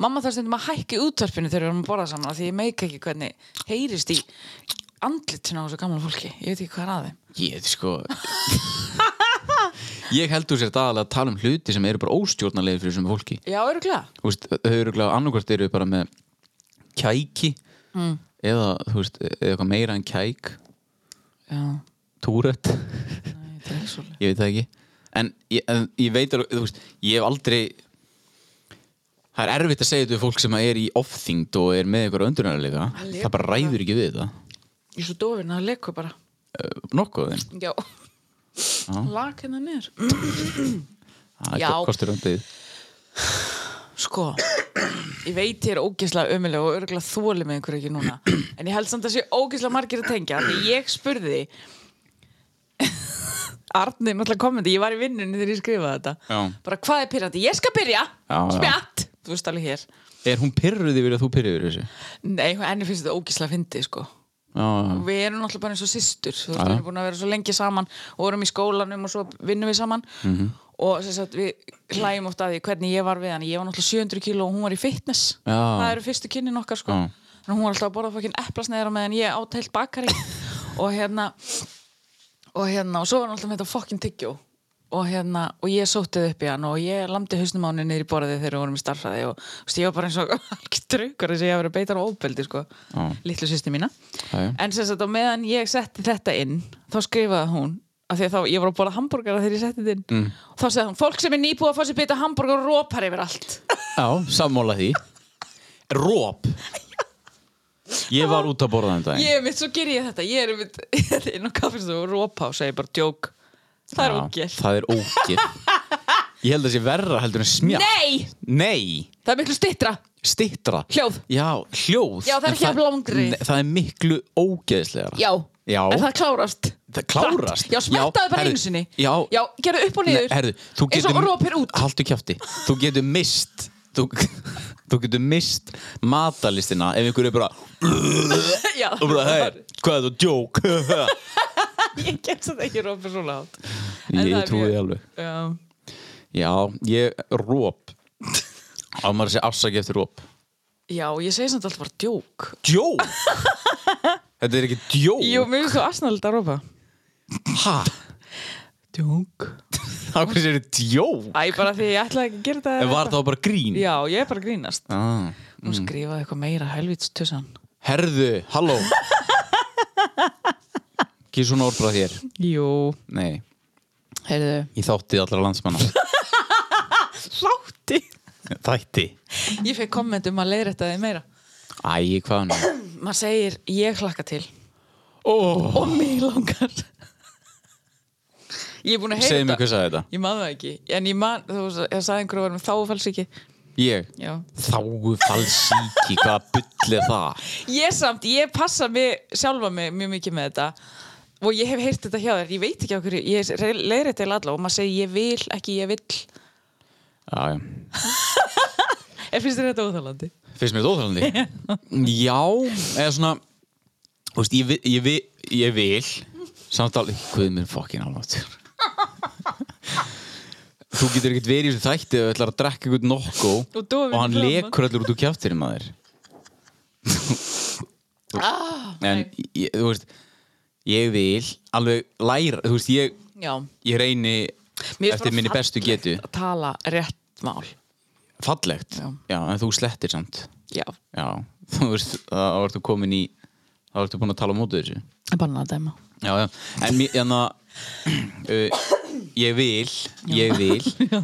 Speaker 3: Mamma þarf stundum að hækka í útvarpinu þegar við erum að borða saman af því ég meika ekki hvernig heyrist í andlitinu á þessu gamla fólki. Ég veit ekki hvað er að þeim.
Speaker 2: ég, sko, ég heldur sér dagalega að tala um hluti sem eru bara óstjórnarlegir fyrir þessum fólki.
Speaker 3: Já, öruglega.
Speaker 2: Þú veist, þau eru glæða annarkvort eru bara með kæki
Speaker 3: Mm.
Speaker 2: eða, þú veist, eða eitthvað meira en kæk,
Speaker 3: Já,
Speaker 2: túrett.
Speaker 3: þetta er ekki svolítið.
Speaker 2: ég veit það ekki en ég, en ég veit alveg, þú veist, ég hef aldrei það er erfitt að segja þetta við fólk sem er í offþyngd og er með einhverja öndunarleika það bara ræður ekki við það
Speaker 3: Ég er svo dofin að leku bara.
Speaker 2: uh, nokkuð af þeim,
Speaker 3: Já. Lak hérna niður.
Speaker 2: það
Speaker 3: Já.
Speaker 2: er kostur öndið
Speaker 3: Sko, ég veit ég er ógeðslega ömuleg og örgulega þóli með einhverju ekki núna En ég held samt að sé ógeðslega margir að tengja af Því ég spurði Arnir náttúrulega kommenti, ég var í vinnunni þegar ég skrifaði þetta
Speaker 2: Já.
Speaker 3: Bara hvað er pyrrandi? Ég skal byrja,
Speaker 2: Já, já.
Speaker 3: spjatt Þú veist alveg hér
Speaker 2: er hún pyrruð yfir að þú pyrruð yfir þessu
Speaker 3: Nei, henni finnst þetta ógeðslega fyndið sko
Speaker 2: já, já,
Speaker 3: Við erum náttúrulega bara eins og systur Þú veist,
Speaker 2: Já.
Speaker 3: við erum búin að vera svo lengi saman og vorum í skólanum og svo vinnum við saman
Speaker 2: Mhm.
Speaker 3: og sem sagt, við hlæjum oft að því hvernig ég var við hann ég var náttúrulega 700 kíló og hún var í fitness
Speaker 2: Já.
Speaker 3: það eru fyrstu kynnin okkar sko.
Speaker 2: Já.
Speaker 3: þannig að hún var alltaf að borða fokkin epplasneiðar meðan ég át heilt bakari og hérna og hérna, og svo var hann alltaf með þetta fokkin tyggjó og hérna, og ég sóttið upp í hann og ég lamdi hausnum á henni niður í borðið þegar við vorum í starfræði og þú veist, ég var bara eins og algjör draugur þess að ég hef verið beitar og óbeldi sko,
Speaker 2: Já.
Speaker 3: litlu sýsti mína
Speaker 2: Já, já.
Speaker 3: En sem sagt, á meðan ég setti þetta inn, þá skrifaði hún af því að þá, ég var að bóla hambúrgara þegar ég setti þetta inn mm. þá segði hún, fólk sem er nýbúið að fá sér bita hambúrgar rópar yfir allt
Speaker 2: já sammála því róp ég var út að borða þeim daginn
Speaker 3: ég er mitt, svo ger ég þetta ég er mitt, inn á kaffestofu og rópa og segi bara, djók, það er
Speaker 2: Já,
Speaker 3: ógel
Speaker 2: það er ógil ég held að sé verra heldur en smjá
Speaker 3: Nei,
Speaker 2: nei
Speaker 3: það er miklu stittra
Speaker 2: Stittra
Speaker 3: Hljóð.
Speaker 2: Já, hljóð
Speaker 3: Já, það er
Speaker 2: En
Speaker 3: ekki jafn langri.
Speaker 2: Nei, Það er miklu ógeðslegra
Speaker 3: Já,
Speaker 2: Já.
Speaker 3: en það klárast
Speaker 2: Það klárast
Speaker 3: Hratt. Já, smettaðu bara
Speaker 2: herðu,
Speaker 3: einu sinni
Speaker 2: Já,
Speaker 3: já gerðu upp
Speaker 2: Nei,
Speaker 3: og niður
Speaker 2: herðu, þú
Speaker 3: Eins og
Speaker 2: getur-
Speaker 3: rópir út
Speaker 2: Haltu kjafti Þú getur mist Þú, þú getur mist matalistina Ef einhver er bara,
Speaker 3: Já,
Speaker 2: og bara hey, Hvað er þú, djók
Speaker 3: ég get þetta ekki rópir svo látt
Speaker 2: Ég trúi því alveg
Speaker 3: Já
Speaker 2: Já, ég róp Á maður að segja afsaki eftir róp
Speaker 3: Já, ég segi samt alltaf bara djók
Speaker 2: Djók Þetta er ekki djók
Speaker 3: Jú, mér finnst þú asnalegt að rópa
Speaker 2: Hæ?
Speaker 3: Djók
Speaker 2: Hvað er þetta djók?
Speaker 3: Æ, bara því ég ætlaði ekki að gera þetta
Speaker 2: En var það bara grín?
Speaker 3: Já, ég er bara að grínast
Speaker 2: Ah.
Speaker 3: Hún skrifaði eitthvað meira helvits tussan
Speaker 2: Herðu, halló Ekki svona orðbrað þér
Speaker 3: Jú,
Speaker 2: Nei,
Speaker 3: heyrðu,
Speaker 2: Í þáttið allra landsmanna
Speaker 3: hlátti
Speaker 2: Þætti
Speaker 3: Ég fekk kommentum að leiðrætta þið meira
Speaker 2: Æ, hvað nú?
Speaker 3: Maður segir, ég hlakka til
Speaker 2: Oh.
Speaker 3: og mig langar Ég er búin að
Speaker 2: Segðu
Speaker 3: heyra
Speaker 2: mér hvað sagði þetta
Speaker 3: Ég maður það ekki, en ég man, þú veist, ég sagði einhverju var með þáfalsíki
Speaker 2: Ég
Speaker 3: Já.
Speaker 2: Þáu falsíki, hvaða bull er það?
Speaker 3: Ég samt, ég passa mig, sjálfa mig mjög mikið með þetta og ég hef heyrt þetta hjá þér, ég veit ekki á hverju, ég leiðir þetta allar og maður segir ég vil, ekki ég vill.
Speaker 2: Já, já
Speaker 3: Ég finnst þér þetta óþálandi?
Speaker 2: Finnst mér þetta óþrólandi? Já, eða svona Þú veist, ég, vi- ég, vi- ég vil Samt alveg, hvað minn fokkin alveg Þú getur ekkert verið í þessu þætti ef þú ætlar að drekka eitthvað nokko
Speaker 3: Og dofin
Speaker 2: hann
Speaker 3: fram,
Speaker 2: lekur allir út úr kjáttirinn maður
Speaker 3: Ah,
Speaker 2: En, ég, þú veist Ég vil alveg læra Þú veist, ég,
Speaker 3: Já.
Speaker 2: ég reyni
Speaker 3: Mér finnst
Speaker 2: eftir
Speaker 3: bara
Speaker 2: minni bestu
Speaker 3: fallegt
Speaker 2: getu
Speaker 3: Að tala rétt mál.
Speaker 2: Fallegt,
Speaker 3: Já.
Speaker 2: já en þú slettir samt
Speaker 3: Já,
Speaker 2: Já, þú veist, þá ertu komin í þá ertu búin að tala á mótu þessu
Speaker 3: ég banna að dæma.
Speaker 2: Já, já, en mér, en að uh, ég vil ég vil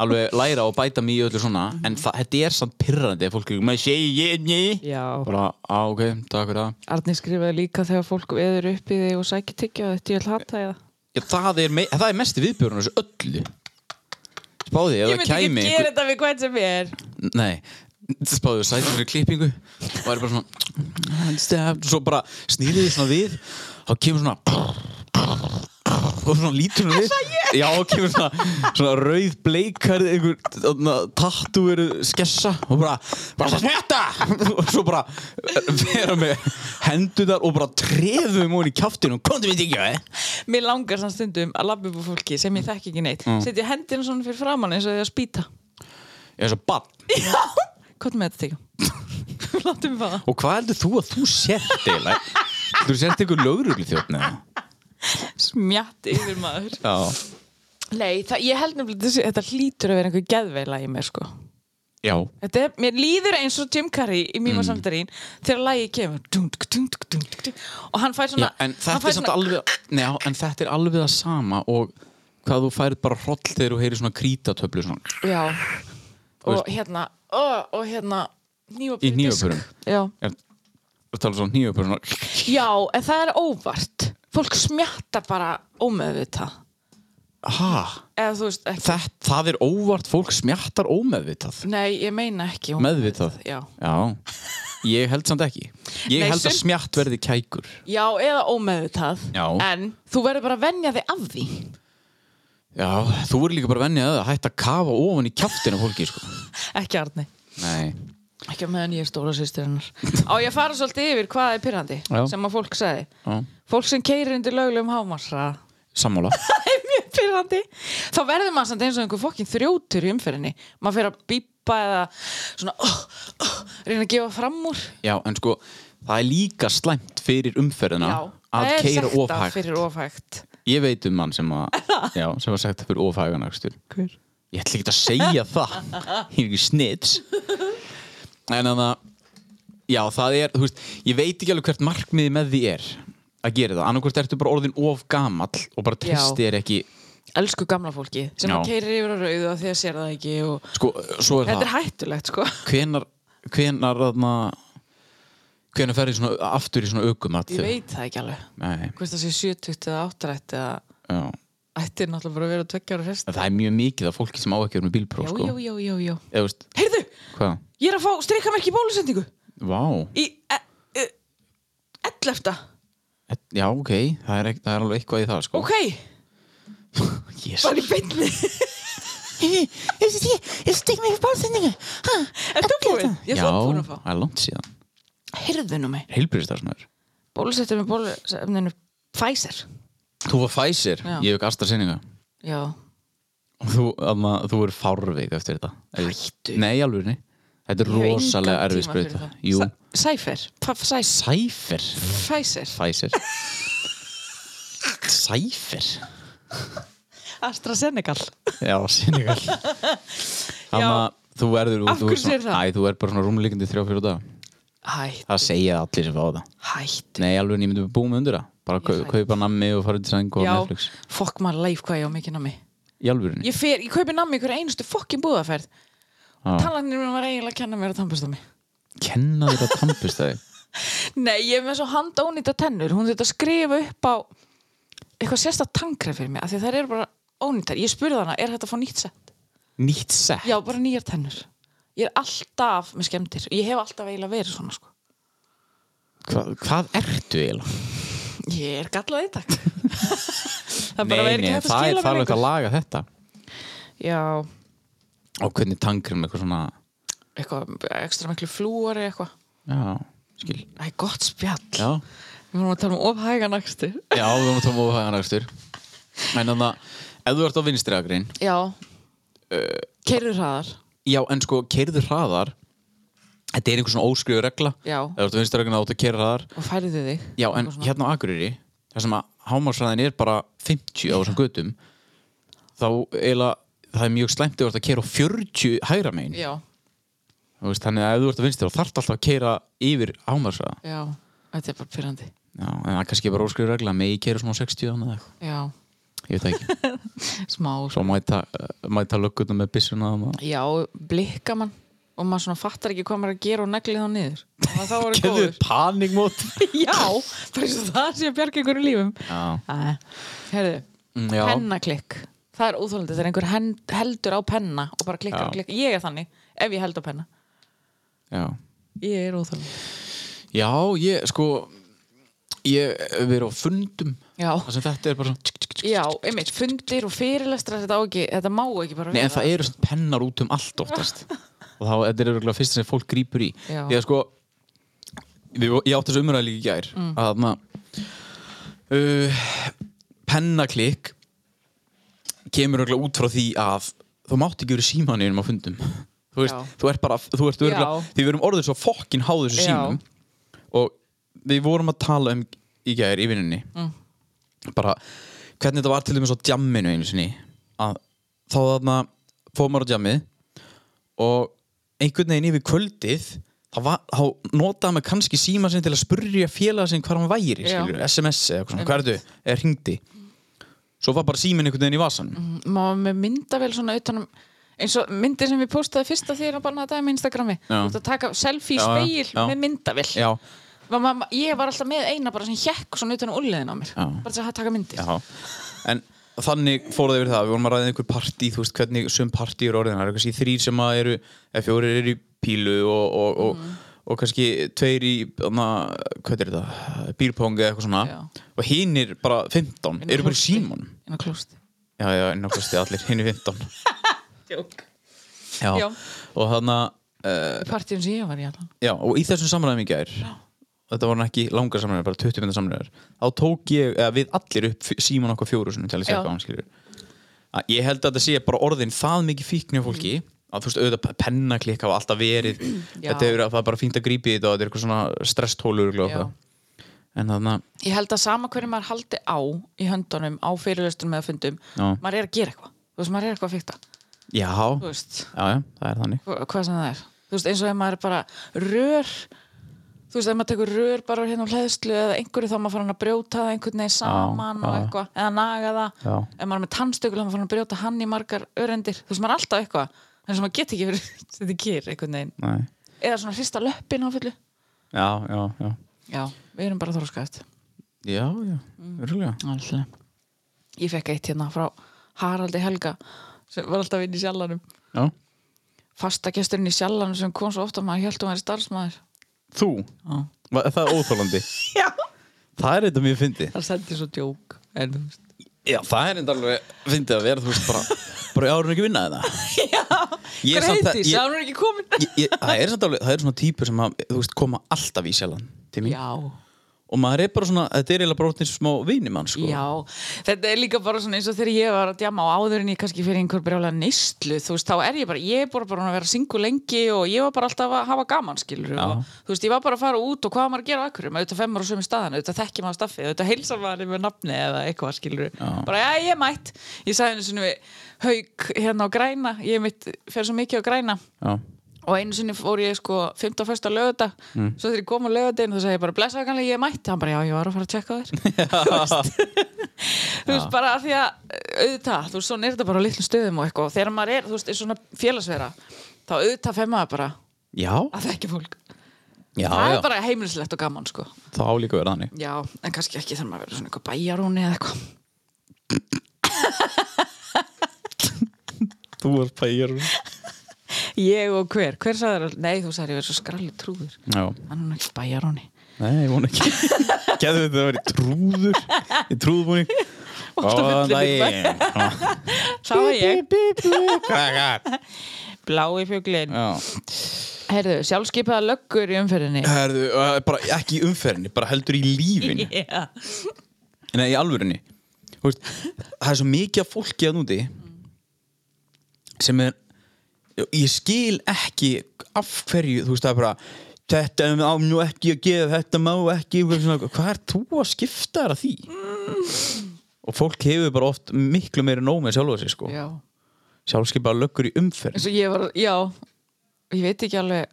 Speaker 2: alveg læra og bæta mig í öllu svona en það, þetta er samt pirrandi að fólk er ekki maður segi ég, nei
Speaker 3: Já.
Speaker 2: bara, á, ok, takk fyrir það
Speaker 3: Arni skrifaði líka þegar fólk veður upp í þig og sækir tyggja og þetta ég vil hata ég það.
Speaker 2: já, það, er mei, það er mest viðbjörnum þessu öllu spáði, ef
Speaker 3: Ég
Speaker 2: það
Speaker 3: myndi ekki
Speaker 2: kæmi
Speaker 3: gera þetta við hvern sem ég er.
Speaker 2: Nei, spáðu sætið fyrir klippingu og er bara svona step, svo bara snýrið þið svona við þá kemur svona og svona lítur hún við já, og kemur svona, svona rauð bleikar einhver tattúveru skessa og bara, bara þetta og svo bara vera með hendunar og bara treðum hún í kjaftinu og komdu við þig eh? ekki
Speaker 3: Mér langar samt stundum að labba upp á fólki sem ég þekki ekki neitt.
Speaker 2: Mm.
Speaker 3: Setja hendina svona fyrir framann eins og því að spýta.
Speaker 2: ég er svo bann
Speaker 3: Já. Hvað með þetta tyggja? Láttu mig fá það.
Speaker 2: og hvað heldur þú að þú sért eiginlega? Þú sért einhver lögrugli þjófn eða?
Speaker 3: Smjatt yfir maður.
Speaker 2: Já.
Speaker 3: Nei, það, ég held nefnilega þessi, þetta hlýtur að vera einhver geðveila í mér sko.
Speaker 2: Já.
Speaker 3: Þetta er, mér líður eins og Jim Carrey í Mima mm. Sandarín þegar lagið kemur dunk, dunk, dunk, dunk, dunk, og hann fær
Speaker 2: Já,
Speaker 3: svona
Speaker 2: en
Speaker 3: Hérna, hann
Speaker 2: þetta
Speaker 3: fær
Speaker 2: er samt alveg Nei, já, en þetta er alveg það sama og hvað þú færið bara hroll þegar þú heyrir svona krítatöflu svona
Speaker 3: Já, og
Speaker 2: veist-
Speaker 3: hérna ó, og hérna
Speaker 2: í
Speaker 3: nýjopur
Speaker 2: nýjöpurum
Speaker 3: Já.
Speaker 2: Þú talar svona nýjöpurum
Speaker 3: Já, en það er óvart fólk smjattar bara ómeðvitað
Speaker 2: Ha,
Speaker 3: eða þú veist ekki
Speaker 2: þetta, það er óvart fólk smjattar ómeðvitað
Speaker 3: Nei, ég meina ekki ómeðvitað.
Speaker 2: Meðvitað
Speaker 3: Já.
Speaker 2: Ég held samt ekki Ég
Speaker 3: Nei,
Speaker 2: held að
Speaker 3: sum-
Speaker 2: smjatt verði kækur
Speaker 3: Já, eða ómeðvitað
Speaker 2: Já.
Speaker 3: en þú verður bara að venja þig af því
Speaker 2: Já, þú er líka bara vennið að það hætta að kafa ofan í kjaftina á fólki sko.
Speaker 3: ekki Arni
Speaker 2: Nei
Speaker 3: Ekki á meðan ég er stóra sýstir hennar. Á ég að fara svolítið yfir hvað er pyrrandi
Speaker 2: Já.
Speaker 3: sem að fólk sagði.
Speaker 2: Já.
Speaker 3: Fólk sem keirir undir lögulegum hámarsraða.
Speaker 2: Sammála
Speaker 3: Það er mjög pyrrandi. Þá verður maður samt eins og einhver fokkin þrjótur í umferðinni. Maður fyrir að bípa eða svona oh, oh, reyna að gefa fram úr.
Speaker 2: Já, en sko, það er líka slæmt fyrir umferðina að
Speaker 3: það er
Speaker 2: keira
Speaker 3: sektað
Speaker 2: ofhægt
Speaker 3: fyrir ofhægt.
Speaker 2: Ég veit um mann sem að já, sem var sagt fyrir ofægan akstur
Speaker 3: Hver?
Speaker 2: Ég ætla ekki að segja það Ég er ekki snitts En þannig að Já, það er, þú veist, ég veit ekki alveg hvert markmiði með því er að gera það annarkvært ertu bara orðin of gamall og bara tristi
Speaker 3: Já.
Speaker 2: er ekki
Speaker 3: Elsku gamla fólki sem
Speaker 2: Já.
Speaker 3: að keirir yfir á rauðu af því að sér það ekki og
Speaker 2: Sko, svo er
Speaker 3: þetta er
Speaker 2: það
Speaker 3: hættulegt sko.
Speaker 2: Hvenar, hvenar, þarna Hvenar ferði svona aftur í svona aukum
Speaker 3: Ég veit það ekki alveg.
Speaker 2: Nei,
Speaker 3: Hvort það sé 70 eða 8 eða
Speaker 2: já
Speaker 3: ættir náttúrulega bara að vera tveggjára
Speaker 2: En
Speaker 3: fyrst.
Speaker 2: Það er mjög mikið af fólki sem á ekki að vera með
Speaker 3: Já,
Speaker 2: bílpróf, sko
Speaker 3: já, já, já, já.
Speaker 2: Eða, veist,
Speaker 3: Heyrðu,
Speaker 2: hvað?
Speaker 3: ég er að fá streikamerki í bólusendingu
Speaker 2: Vá,
Speaker 3: í e- e- 11.
Speaker 2: já, ok það er, ek- það er alveg eitthvað í það, sko
Speaker 3: Ok,
Speaker 2: Jésus.
Speaker 3: bara í beinni.
Speaker 6: Ég sé, ég stík mig í bálsendingu.
Speaker 3: Er þú búinn? Ég er
Speaker 2: Já,
Speaker 3: svo búinn að fá.
Speaker 2: það er langt síðan
Speaker 3: Heyrðu nú mig.
Speaker 2: Heilbyrðistarsmaður
Speaker 3: Bólusettur með bólusefninu Pfizer.
Speaker 2: Þú var Pfizer,
Speaker 3: Já.
Speaker 2: ég hef ekki AstraZeneca
Speaker 3: Já.
Speaker 2: Og þú, amma, þú er fárveik eftir þetta
Speaker 3: Hættu.
Speaker 2: Nei, alveg nei Þetta er
Speaker 3: Ég hef engan
Speaker 2: rosalega erfið
Speaker 3: tíma fyrir
Speaker 2: sprauta
Speaker 3: það.
Speaker 2: Jú,
Speaker 3: Sa- Cypher. Pfizer.
Speaker 2: Cypher
Speaker 3: Pfizer.
Speaker 2: Pfizer Cypher
Speaker 3: AstraZeneca.
Speaker 2: Já, Senegal Amma, þú verður
Speaker 3: Af
Speaker 2: þú er
Speaker 3: hverju
Speaker 2: svona-
Speaker 3: segirðu það?
Speaker 2: Æ, þú er bara svona rúmlíkandi þrjá fyrir dag
Speaker 3: Hæ,
Speaker 2: Það segja það allir sem fá það
Speaker 3: hætt.
Speaker 2: Nei, alveg en ég myndi búið með undir það bara kaup, kaupa nammi og fara út í sæng og
Speaker 3: Já,
Speaker 2: Netflix
Speaker 3: fokk maður leif hvað ég á mikið nammi
Speaker 2: í alvörinni
Speaker 3: Ég fer, ég kaupi nammi í hverja einustu fokkin búðaferð
Speaker 2: Já.
Speaker 3: Talanir mér var eiginlega að kenna mér að tampast á mig
Speaker 2: kenna þér að tampist það
Speaker 3: Nei, ég er með svo handónýta tennur Hún þurfti að skrifa upp á eitthvað sérstætt tangrað fyrir mig af því að þær eru bara ónýttar Ég spurði hana, er þetta að fá nýtt sett?
Speaker 2: nýtt sett
Speaker 3: Já, bara nýjar tennur Ég er alltaf með skemmtir Ég hef alltaf eiginlega verið svona sko
Speaker 2: Hva, hvað ertu eiginlega?
Speaker 3: Ég er gallað í takt Það
Speaker 2: Nei,
Speaker 3: bara verið
Speaker 2: nei,
Speaker 3: ekki hægt að
Speaker 2: það er
Speaker 3: skila mér
Speaker 2: farlegt að
Speaker 3: lengur
Speaker 2: laga þetta
Speaker 3: Já,
Speaker 2: og hvernig tangrinn eitthvað svona
Speaker 3: eitthvað, ekstra miklu flúari eitthvað
Speaker 2: já, skil
Speaker 3: Það er gott spjall
Speaker 2: já,
Speaker 3: Við vorum að tala um ofhægan akstur
Speaker 2: já við erum að tóma ofað hann aftur en þannig að ef þú ert á vinstri akrein
Speaker 3: Já uh, Kerur hraðar
Speaker 2: já, en sko, keirðu hraðar þetta er einhver svona óskrifu regla
Speaker 3: Já.
Speaker 2: ef þú ert á vinstri akrein áttu að keira hraðar
Speaker 3: og færiðu þig
Speaker 2: já, en hérna á Akureyri þar sem að hámarsræðin er bara 50 á þessum götum þá eiginlega, það er mjög slæmt ef þú ert að keira á 40 hægra megin
Speaker 3: Já,
Speaker 2: Þú veist, þannig að ef þú ert að vinstri þá þarf alltaf að keira yfir hámarsræða
Speaker 3: já, þetta er bara pyrrandi
Speaker 2: Já, en það er kannski bara óskrifu regla með ég keira svona á 60 þannig eða eitthvað,
Speaker 3: Já,
Speaker 2: ég veit það ekki
Speaker 3: smá
Speaker 2: Svo mæta, eh, mæta löggutum með byssuna þarna.
Speaker 3: Já, blikka mann og maður svona fattar ekki hvað maður er að gera og neglið þá niður og þá var það
Speaker 2: Gerðu
Speaker 3: góður
Speaker 2: panikmót
Speaker 3: Já, bara eins og það sé að bjarga einhverjum lífum
Speaker 2: Já,
Speaker 3: Æ, Herðu,
Speaker 2: Mm, já.
Speaker 3: pennaklikk Það er óþólandi, þegar einhver hend, heldur á penna og bara klikkar
Speaker 2: Já.
Speaker 3: og klikkar Ég er þannig, ef ég held á penna
Speaker 2: já
Speaker 3: Ég er óþólandi
Speaker 2: Já, ég, sko ég hef verið á fundum
Speaker 3: Já.
Speaker 2: þar sem þetta er bara svona tsk, tsk, tsk.
Speaker 3: Já, einmitt, fundir og fyrirlestrar þetta, á ekki, þetta má ekki bara
Speaker 2: Nei, en
Speaker 3: vera.
Speaker 2: það eru svona pennar út um allt oftast og þá, þetta er örgulega fyrst sem fólk grípur í
Speaker 3: Já.
Speaker 2: því að sko við, ég átti þessu umræði líka í gær
Speaker 3: Mm.
Speaker 2: að þarna uh, pennaklikk kemur örgulega út frá því að þú mátt ekki verið símaninum á fundum þú veist,
Speaker 3: Já.
Speaker 2: þú ert bara þú ert örgulega,
Speaker 3: Já.
Speaker 2: því við erum orðið svo fokkin háð þessu
Speaker 3: Já.
Speaker 2: símum og við vorum að tala um í gær í vinnunni bara hvernig þetta var til dæmis á djamminu einu sinni að þá þarna fóðum maður á djammið og einhvern veginn yfir kvöldið þá, var, þá notaði maður kannski síma sinni til að spurja félaga sinni hvar hann væri
Speaker 3: Já.
Speaker 2: skilur, SMS eða eitthvað svona, hvað er þau? eða hringdi svo var bara símin einhvern veginn í vasan
Speaker 3: maður var með myndavél svona utanum eins og myndir sem við postaði fyrsta því er að banna þetta með Instagrami þú
Speaker 2: Já.
Speaker 3: ert að taka selfie í
Speaker 2: Já, já,
Speaker 3: speil
Speaker 2: já.
Speaker 3: með myndavél
Speaker 2: já,
Speaker 3: var, ma- ma- ég var alltaf með eina bara sem hjekk svona utanum úrliðin á mér
Speaker 2: Já.
Speaker 3: bara til að taka myndir
Speaker 2: já en þannig fóruði yfir það, við vorum að ræða einhver partí þú veist hvernig sum partí eru orðin það eru kannski þrýr sem að eru, eða fjórir eru í pílu og, og, og,
Speaker 3: Mhm.
Speaker 2: og kannski tveir í, na, hvað er þetta bírpong eða eitthvað svona
Speaker 3: Já.
Speaker 2: og hinir bara 15,
Speaker 3: Inni í
Speaker 2: eru bara í
Speaker 3: klósti.
Speaker 2: símanum
Speaker 3: inn á klósti
Speaker 2: já, já, nákvæmst ég allir, hinn er 15 já.
Speaker 3: Já.
Speaker 2: og þannig
Speaker 3: partíum sem ég var í allan
Speaker 2: já, og í þessum samræðum í gær þetta voru ekki langar samræðar, bara 20 minna samræðar þá tók ég, eða við allir upp síman okkur fjóru sinni til að
Speaker 3: Já.
Speaker 2: segja hvað hann skilur að ég held að þetta sé bara orðin það mikið fíkni á fólki að þú veist auðvitað pennaklikk hafa alltaf verið
Speaker 3: Mm. Já.
Speaker 2: þetta er, það er bara fínt að grípi þetta og þetta er eitthvað svona stresstólur og
Speaker 3: Já.
Speaker 2: eitthvað. en þannig að
Speaker 3: ég held að sama hverju maður haldi á í höndunum á fyrirlestunum eða fundum
Speaker 2: Já.
Speaker 3: maður er að gera eitthvað þú veist maður er eitthvað að fykta
Speaker 2: já,
Speaker 3: þú
Speaker 2: já,
Speaker 3: veist
Speaker 2: já, það er þannig
Speaker 3: hva- hvað sem það er þú veist, eins og ef maður er bara rör þú veist, ef maður tekur rör bara hérna á hlæðslu eða einhverju þá er maður farin að brjóta það einhvern veginn saman og
Speaker 2: já.
Speaker 3: eitthvað eða naga það,
Speaker 2: Já.
Speaker 3: ef maður er með tannstökul þá er maður farin að brjóta hann í margar örendir þú veist, maður er alltaf eitthvað, en sem maður get ekki verið þetta kýr einhvern veginn
Speaker 2: Nei.
Speaker 3: eða svona hrista löppin á fullu
Speaker 2: já, já, já
Speaker 3: já, við erum bara þorskaðist
Speaker 2: já, já,
Speaker 3: Mm.
Speaker 2: örgulega
Speaker 3: alltaf ég fekk eitt hérna frá Haraldi Helga sem var alltaf inn í sjallanum
Speaker 2: já.
Speaker 3: fastagesturinn í sjallanum sem kom svo ofta maður held að maður er starfsmæður
Speaker 2: þú, Va- það er óþólandi
Speaker 3: já
Speaker 2: það er þetta mjög fyndið
Speaker 3: Það sendi svo djók en, þú veist.
Speaker 2: Já, það er enda alveg fyndið að vera, þú veist, bara, bara ég árun ekki vinna þetta. Ég er samt að-
Speaker 3: Greiði,
Speaker 2: ég-
Speaker 3: sá hún er ekki komin
Speaker 2: Ég- ég- Það er samt alveg, það er svona típur sem að, þú veist, koma alltaf í sjálfan til mín.
Speaker 3: Já,
Speaker 2: Og maður er bara svona, þetta er eiginlega bara orðin smá vinimann, sko.
Speaker 3: já Þetta er líka bara svona eins og þegar ég var að djama á áður en ég kannski fyrir einhver brjálega neyslu þú veist, þá er ég bara, ég er bara bara að vera singu lengi og ég var bara alltaf að hafa gaman skilur
Speaker 2: Já.
Speaker 3: og, þú veist, ég var bara að fara út og hvað á maður að gera á akkurum, auðvitað fem maður á sömu staðan auðvitað þekki maður staffið, auðvitað heilsa maður með nafni eða eitthvað skilur bara, já, ég er mætt, ég sagði henni svona við haug hérna á græna, ég mitt fer svo mikið á græna
Speaker 2: Já.
Speaker 3: og einu sinni fór ég sko 15. lögata mm. svo þegar ég kom á lögadegin þá sagði ég bara blessaði kannlega ég er mætt hann bara já ég var að fara að tjekka á þér þú veist bara af því að auðvitað þú veist svona er þetta bara á litlum stöðum og eitthvað og þegar maður er þú veist er svona félagsvera þá auðvitað fer maður bara
Speaker 2: Já,
Speaker 3: að þekki fólk
Speaker 2: já, já,
Speaker 3: það er bara heimilislegt og gaman sko
Speaker 2: þá líka verða þannig
Speaker 3: já en kannski ekki þegar maður verður svona eitthvað bæjarúni eða eitthvað
Speaker 2: Þú varst pæjar
Speaker 3: ég og hver hver sagði þér nei þú sagði ég verður svo skralli trúður
Speaker 2: Já,
Speaker 3: hann er nú ekki bæjarúni
Speaker 2: nei, ég vona ekki Gæðu þetta að vera trúður Í trúðbúning Góðan daginn
Speaker 3: það var ég
Speaker 2: Krakkar
Speaker 3: blái fjöglin
Speaker 2: Já
Speaker 3: Herðu, sjálfskeipaða löggur í umferðinni
Speaker 2: Herðu, uh, bara ekki í umferðinni, bara heldur í lífinu
Speaker 3: yeah.
Speaker 2: Nei, í alvörunni Þú veist, Það er svo mikið af fólki að núti sem er ég skil ekki af hverju, þú veist, það er bara þetta á nú ekki að gefa, þetta má ekki og svona, hvað er þú að skipta þér að því? Og fólk hefur bara oft miklu meiri nóg með sjálfa sig, sko
Speaker 3: Já,
Speaker 2: sjálfskeipa löggur í umferð
Speaker 3: eins og ég var, já ég veit ekki alveg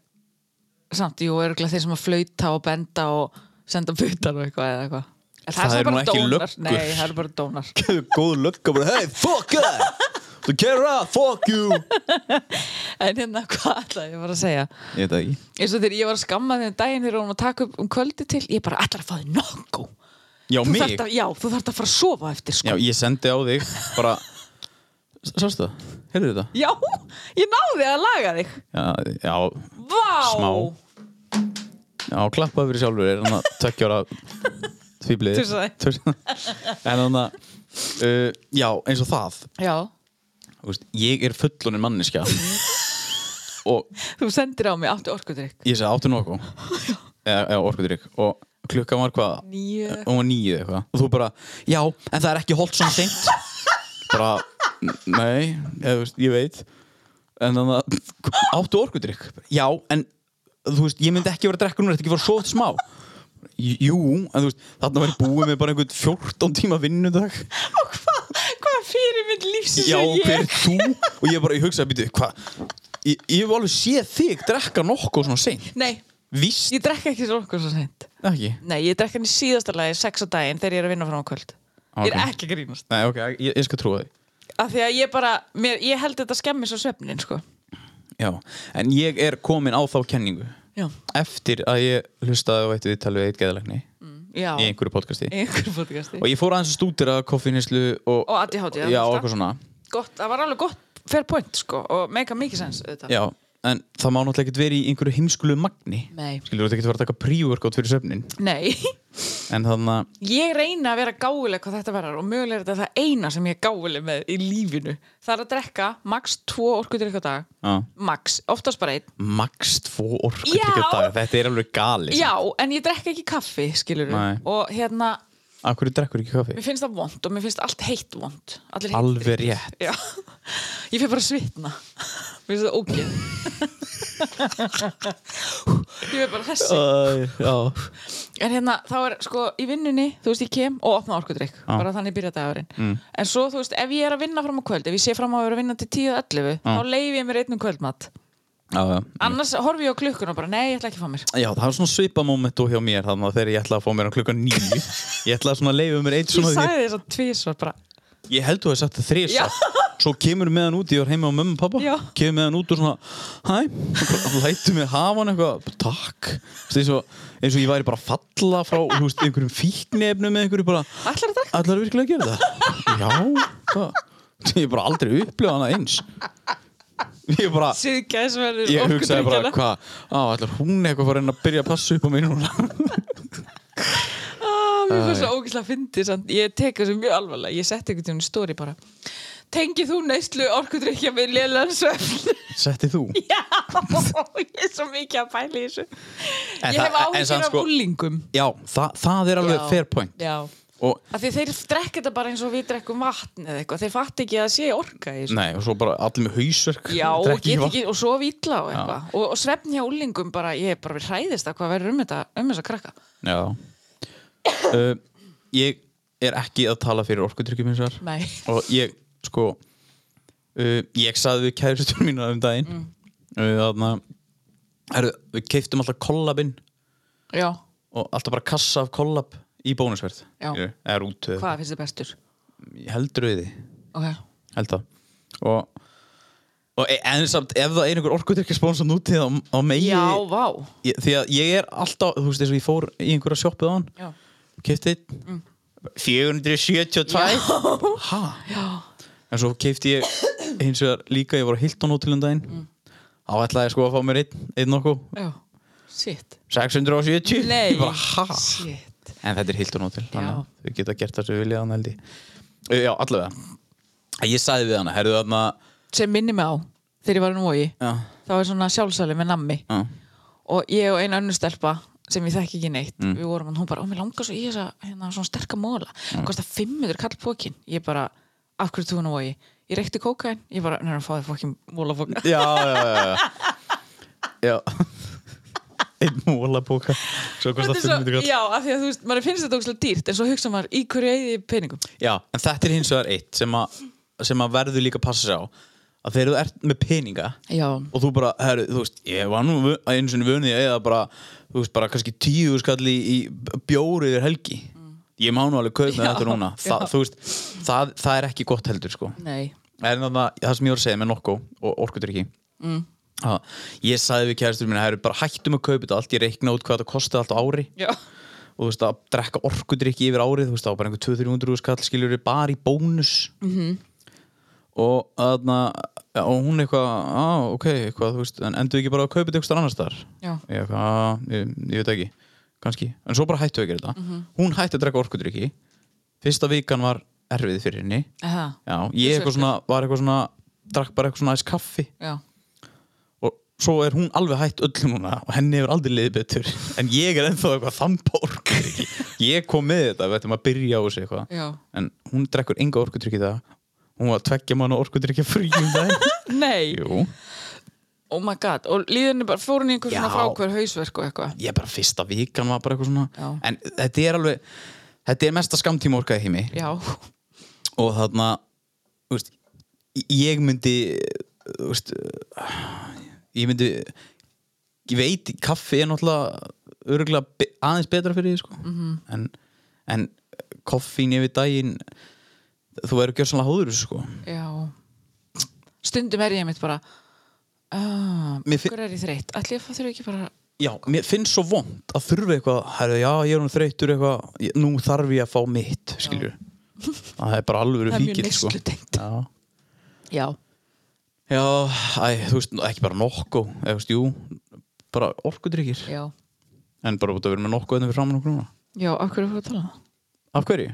Speaker 3: samt, jú, örgulega þeir sem að flauta og benda og senda butar og eitthvað eða eitthvað En
Speaker 2: Það
Speaker 3: svona
Speaker 2: eru nú
Speaker 3: bara
Speaker 2: ekki
Speaker 3: dónar.
Speaker 2: löggur.
Speaker 3: Nei, það eru bara dónar
Speaker 2: Góð lögga bara, hey, fuck that þú kæra, fuck you
Speaker 3: En hérna, hvað ætlaði ég var að segja
Speaker 2: Ég veit það ekki
Speaker 3: eins og þegar ég var að skamma þeim daginn þegar hún var að taka upp um kvöldi til ég bara ætlar að fá þið nokku
Speaker 2: Já,
Speaker 3: þú
Speaker 2: mig
Speaker 3: þarft að, Já, þú þarft að fara að sofa eftir
Speaker 2: Já,
Speaker 3: sko
Speaker 2: ég sendi á þig bara Sástu það? Heyrðu þetta?
Speaker 3: Já, ég náði að laga þig
Speaker 2: Já, já,
Speaker 3: Vá
Speaker 2: Smá. já klappaði fyrir sjálfur er hann að tökja ára tvíblið
Speaker 3: Tussaði.
Speaker 2: En hann að uh, Já, eins og það
Speaker 3: Já,
Speaker 2: Þú veist, Ég er fullunin manniska og
Speaker 3: þú sendir á mig áttu orkudrykk
Speaker 2: ég segi áttu nokku eða, eða orkutrykk og klukkan var hvað?
Speaker 3: Níu.
Speaker 2: Hún var nýju eitthvað og þú bara, já, en það er ekki holt svona seint bara, "N- nei eða, þú veist, ég veit en þannig að, áttu orkutrykk já, en þú veist, ég myndi ekki vera að drekka núna, þetta ekki fara svo smá jú, en þú veist, þarna var ég búið með bara einhvern 14 tíma vinnudag
Speaker 3: Hvað fyrir minn lífsins
Speaker 2: já,
Speaker 3: er
Speaker 2: hver
Speaker 3: ég?
Speaker 2: er þú? og ég bara, ég hugsaði, býtu, hvað ég, ég hef alveg séð þig drekka nokkuð svona seint
Speaker 3: Nei,
Speaker 2: víst
Speaker 3: ég drekka ekki svo okkur svo seint
Speaker 2: ekki
Speaker 3: Nei, ég drekka hann í síðasta lagi sex á daginn þegar ég er að vinna frá á kvöld Ég
Speaker 2: Ok.
Speaker 3: er ekki að grínast
Speaker 2: Nei, ok, ég, ég skal trúa því
Speaker 3: Af því að ég bara, mér, ég held þetta skemmi svo svefnin sko
Speaker 2: Já, en ég er komin á þá kenningu
Speaker 3: Já,
Speaker 2: Eftir að ég hlustaði á eitt viðtal við eitt geðalegni
Speaker 3: já
Speaker 2: Í einhverju podcasti
Speaker 3: Í einhverju podcasti
Speaker 2: Og ég fór aðeins að stúdira koffínhislu og,
Speaker 3: Og ADHD,
Speaker 2: Já,
Speaker 3: auðvitað.
Speaker 2: og eitthvað svona
Speaker 3: Gott, það var alveg gott fair point sko og make a mikið sens auðvitað
Speaker 2: Já, en það má náttúrulega ekkert verið í einhverju heimskulu magni
Speaker 3: Nei.
Speaker 2: Skilur þú þetta ekkert vera að taka prívorkátt fyrir söfnin
Speaker 3: Nei,
Speaker 2: En þannig að
Speaker 3: ég reyna að vera gáfuleg hvað þetta verðar og mögulega er þetta það eina sem ég er gáfuleg með í lífinu Það er að drekka max 2 orkudrykk á dag
Speaker 2: Já.
Speaker 3: Max, oftast bara einn
Speaker 2: Max tvo orku
Speaker 3: Já.
Speaker 2: til dag Þetta er alveg gali
Speaker 3: Já, en ég drekka ekki kaffi, skilur
Speaker 2: Nei.
Speaker 3: Og hérna,
Speaker 2: Af hverju drekkur ekki kaffi?
Speaker 3: mér finnst það vond og mér finnst allt heitt vond Allir heitt
Speaker 2: Alveg
Speaker 3: drykkir.
Speaker 2: rétt.
Speaker 3: Já, ég fyrir bara að svitna Mér finnst það ógeð Ég fyrir bara þessi
Speaker 2: Æ, já
Speaker 3: En hérna, þá er sko í vinnunni, þú veist, ég kem og opna orkudrykk, bara þannig byrja dagurinn.
Speaker 2: Mm.
Speaker 3: En svo, þú veist, ef ég er að vinna fram á kvöld, ef ég sé fram á að vera að vinna til 10.11, þá leifi ég mér einnum kvöldmatt.
Speaker 2: Já, já
Speaker 3: Annars horfi ég á klukkun og bara, nei, ég ætla ekki að fá mér.
Speaker 2: Já, það var svona svipa momentu hjá mér þannig að þegar ég ætlaði að fá mér á klukkan nýju ég ætlaði svona að leifa mér eitt
Speaker 3: Ég
Speaker 2: svona
Speaker 3: sagði þess að tvísvar bara,
Speaker 2: því, ég held þú að sagt það þrísa svo kemur meðan út, ég var heima á mömmu og pappa
Speaker 3: Já.
Speaker 2: kemur meðan út og svona hæ, og lætu mig hafa hann eitthvað takk, Þú veist, eins og, eins og ég væri bara að falla frá þú veist, einhverjum fíknefnum eða einhverju bara
Speaker 3: ætlar þetta?
Speaker 2: ætlaði virkilega að gera það já, það ég hef bara aldrei upplifað hana eins ég bara
Speaker 3: Sýðgæðisverður
Speaker 2: ég hugsaði bara hvað, á, ætlar hún eitthvað að fara inn að byrja að passa upp á mig núna
Speaker 3: Ah, Mér finnst það ógæslega að fyndi, samt. ég tek þessu mjög alvarlega, ég setti einhvern tímann í stóri bara. Tengið þú neyslu orkudrykja við lélan svefn?
Speaker 2: Setti þú?
Speaker 3: Já, ég er svo mikið að pæla í þessu.
Speaker 2: En það- en- en
Speaker 3: ég hef áhyggjur
Speaker 2: samt
Speaker 3: af
Speaker 2: sko-
Speaker 3: úlingum.
Speaker 2: Já, það, það er alveg
Speaker 3: Já.
Speaker 2: fair point
Speaker 3: Já,
Speaker 2: og,
Speaker 3: af því þeir drekka þetta bara eins og við drekkum vatn eða eitthvað, þeir fatt ekki að það sé orka í þessu.
Speaker 2: Nei, og svo bara allir með hausverk
Speaker 3: Já, og
Speaker 2: drekki
Speaker 3: get
Speaker 2: vatn.
Speaker 3: ekki, og svo vítla og eitthvað og, og svefn hjá úlingum bara, ég er bara við hræðist að hvað verður um þetta, um þess að krakka
Speaker 2: Já uh, Ég er ekki að tala fyrir orkudrykkjum eins og þar
Speaker 3: Nei,
Speaker 2: Og ég, sko uh, Ég saði við kæristur mínu um daginn mm. uh, Þannig Heru, við keiftum alltaf kollabinn
Speaker 3: Já,
Speaker 2: og alltaf bara kassa af kollab í bónusverð
Speaker 3: Já.
Speaker 2: Skilurðu, eða rútu,
Speaker 3: hvað finnst þið bestur?
Speaker 2: eh, heldur við því
Speaker 3: Ok,
Speaker 2: held það og, og e- en samt ef það er einhver orkutyrkja spóns á nútíð á, á megi
Speaker 3: já, vá
Speaker 2: ég, því að ég er alltaf, þú veist eins og ég fór í einhverja sjoppuð á hann,
Speaker 3: Já,
Speaker 2: keifti mm. 472 ha? Já. en svo keifti ég hins vegar líka, ég voru hilt á nútílum daginn þá ætlaði ég sko að fá mér einn, einn nokkuð
Speaker 3: já, shit
Speaker 2: 670
Speaker 3: Nei.
Speaker 2: Ég bara, ha?
Speaker 3: Shit,
Speaker 2: En þetta er Hilton Hotel Þannig
Speaker 3: Já.
Speaker 2: að þau geta gert það sem vilja þannig held ég Uh, Já, allavega Ég sagði við hana, herðu þarna
Speaker 3: sem minni mig á þegar ég var í Nói
Speaker 2: Já,
Speaker 3: þá er svona sjálfsali með nammi
Speaker 2: já,
Speaker 3: og ég og eina önnur stelpa sem ég þekki ekki neitt
Speaker 2: Mm.
Speaker 3: við vorum hann, hún bara, ó, mér langar svo í þessa hérna, svona sterka móla, mm. hvort að 500 kall pókin, ég bara, af hverju þú nú og ég ég reykti kókain, ég bara, neina, fáði fókin mólafóka,
Speaker 2: já, já, já, já. já. Einn múlapóka Svo kostar 500 kall
Speaker 3: já, af því að þú veist, maður finnst þetta ókslega dýrt, en svo hugsa maður í hverju eigið ég peningum,
Speaker 2: Já, en þetta er hins vegar eitt sem að, sem að verður líka að passa sér á að þegar þú ert með peninga
Speaker 3: já,
Speaker 2: og þú bara, herru, þú veist, ég var nú vö- einu sinni vunni að eða bara, þú veist, bara kannski tíu skalli í bjóri yfir helgi ég má nú alveg kaupa
Speaker 3: Já,
Speaker 2: þetta núna Þa,
Speaker 3: já.
Speaker 2: þú veist, það, það er ekki gott heldur sko.
Speaker 3: nei
Speaker 2: en það, það sem ég var að segja með nokko og orkutrykki mm. ég sagði við kæristur minna, herru, bara hættum að kaupa þetta allt, ég reikna út hvað þetta kosti allt á ári
Speaker 3: já,
Speaker 2: og þú veist, að drekka orkudrykki yfir árið, þú veist, það var bara einhver 200-300 skall skiljur bara í bónus -hmm. og þarna og hún eitthvað, á, ok, eitthvað þú veist, en endur ekki bara að kaupa þetta eitthvað annars þar
Speaker 3: Já.
Speaker 2: ég, eitthvað, "Ah, ég, ég veit ekki, kannski en svo bara hættu ekki þetta, hún hætti að drekka orkudrykki fyrsta vikan var erfið fyrir henni,
Speaker 3: eða,
Speaker 2: já, ég eitthvað svona, var eitthvað svona drakk bara eitthvað svona aðeins kaffi
Speaker 3: já
Speaker 2: og svo er hún alveg hætt öll núna og henni hefur aldrei liðið betur en ég er ennþá eitthvað þambórk ég kom með þetta, við ættum að byrja á þessu eitthvað
Speaker 3: Já.
Speaker 2: en hún drekkur enga orkutrykki það hún var að tveggja manna orkutrykki fríum það
Speaker 3: nei,
Speaker 2: Jú,
Speaker 3: oh my god og líðinni bara, fór hún í einhver svona
Speaker 2: Já.
Speaker 3: frákvör hausverk og eitthvað,
Speaker 2: ég bara fyrsta vikan var bara eitthvað svona
Speaker 3: Já.
Speaker 2: en þetta er alveg þetta er mesta skamtíma orkaði heimi
Speaker 3: já,
Speaker 2: og þarna þú veist, ég myndi þú veist, ég myndi ég veit, kaffi er náttúrulega örgulega be, aðeins betra fyrir því sko.
Speaker 3: Mhm.
Speaker 2: -hmm. en, en koffín yfir daginn þú verður gjörsanlega hóður þessu, sko.
Speaker 3: já stundum er ég mitt bara ah,
Speaker 2: Mér fin-
Speaker 3: hver er ég þreytt ætli ég að þurfa ekki bara
Speaker 2: já, mér finnst svo vond að þurfa eitthvað herri, já, ég er nú þreytur eitthvað ég- nú þarf ég að fá mitt skilur. það er bara alvöru
Speaker 3: Það er mjög
Speaker 2: fíkil sko.
Speaker 3: neyslutengt.
Speaker 2: já
Speaker 3: Já,
Speaker 2: Já, æ, þú veist, ekki bara nokko eða, þú veist, jú, bara orkudrykkir
Speaker 3: já. En-
Speaker 2: en bara út að vera með nokko eða við framan okkur núna
Speaker 3: Já, af hverju fór að tala um það?
Speaker 2: Af hverju?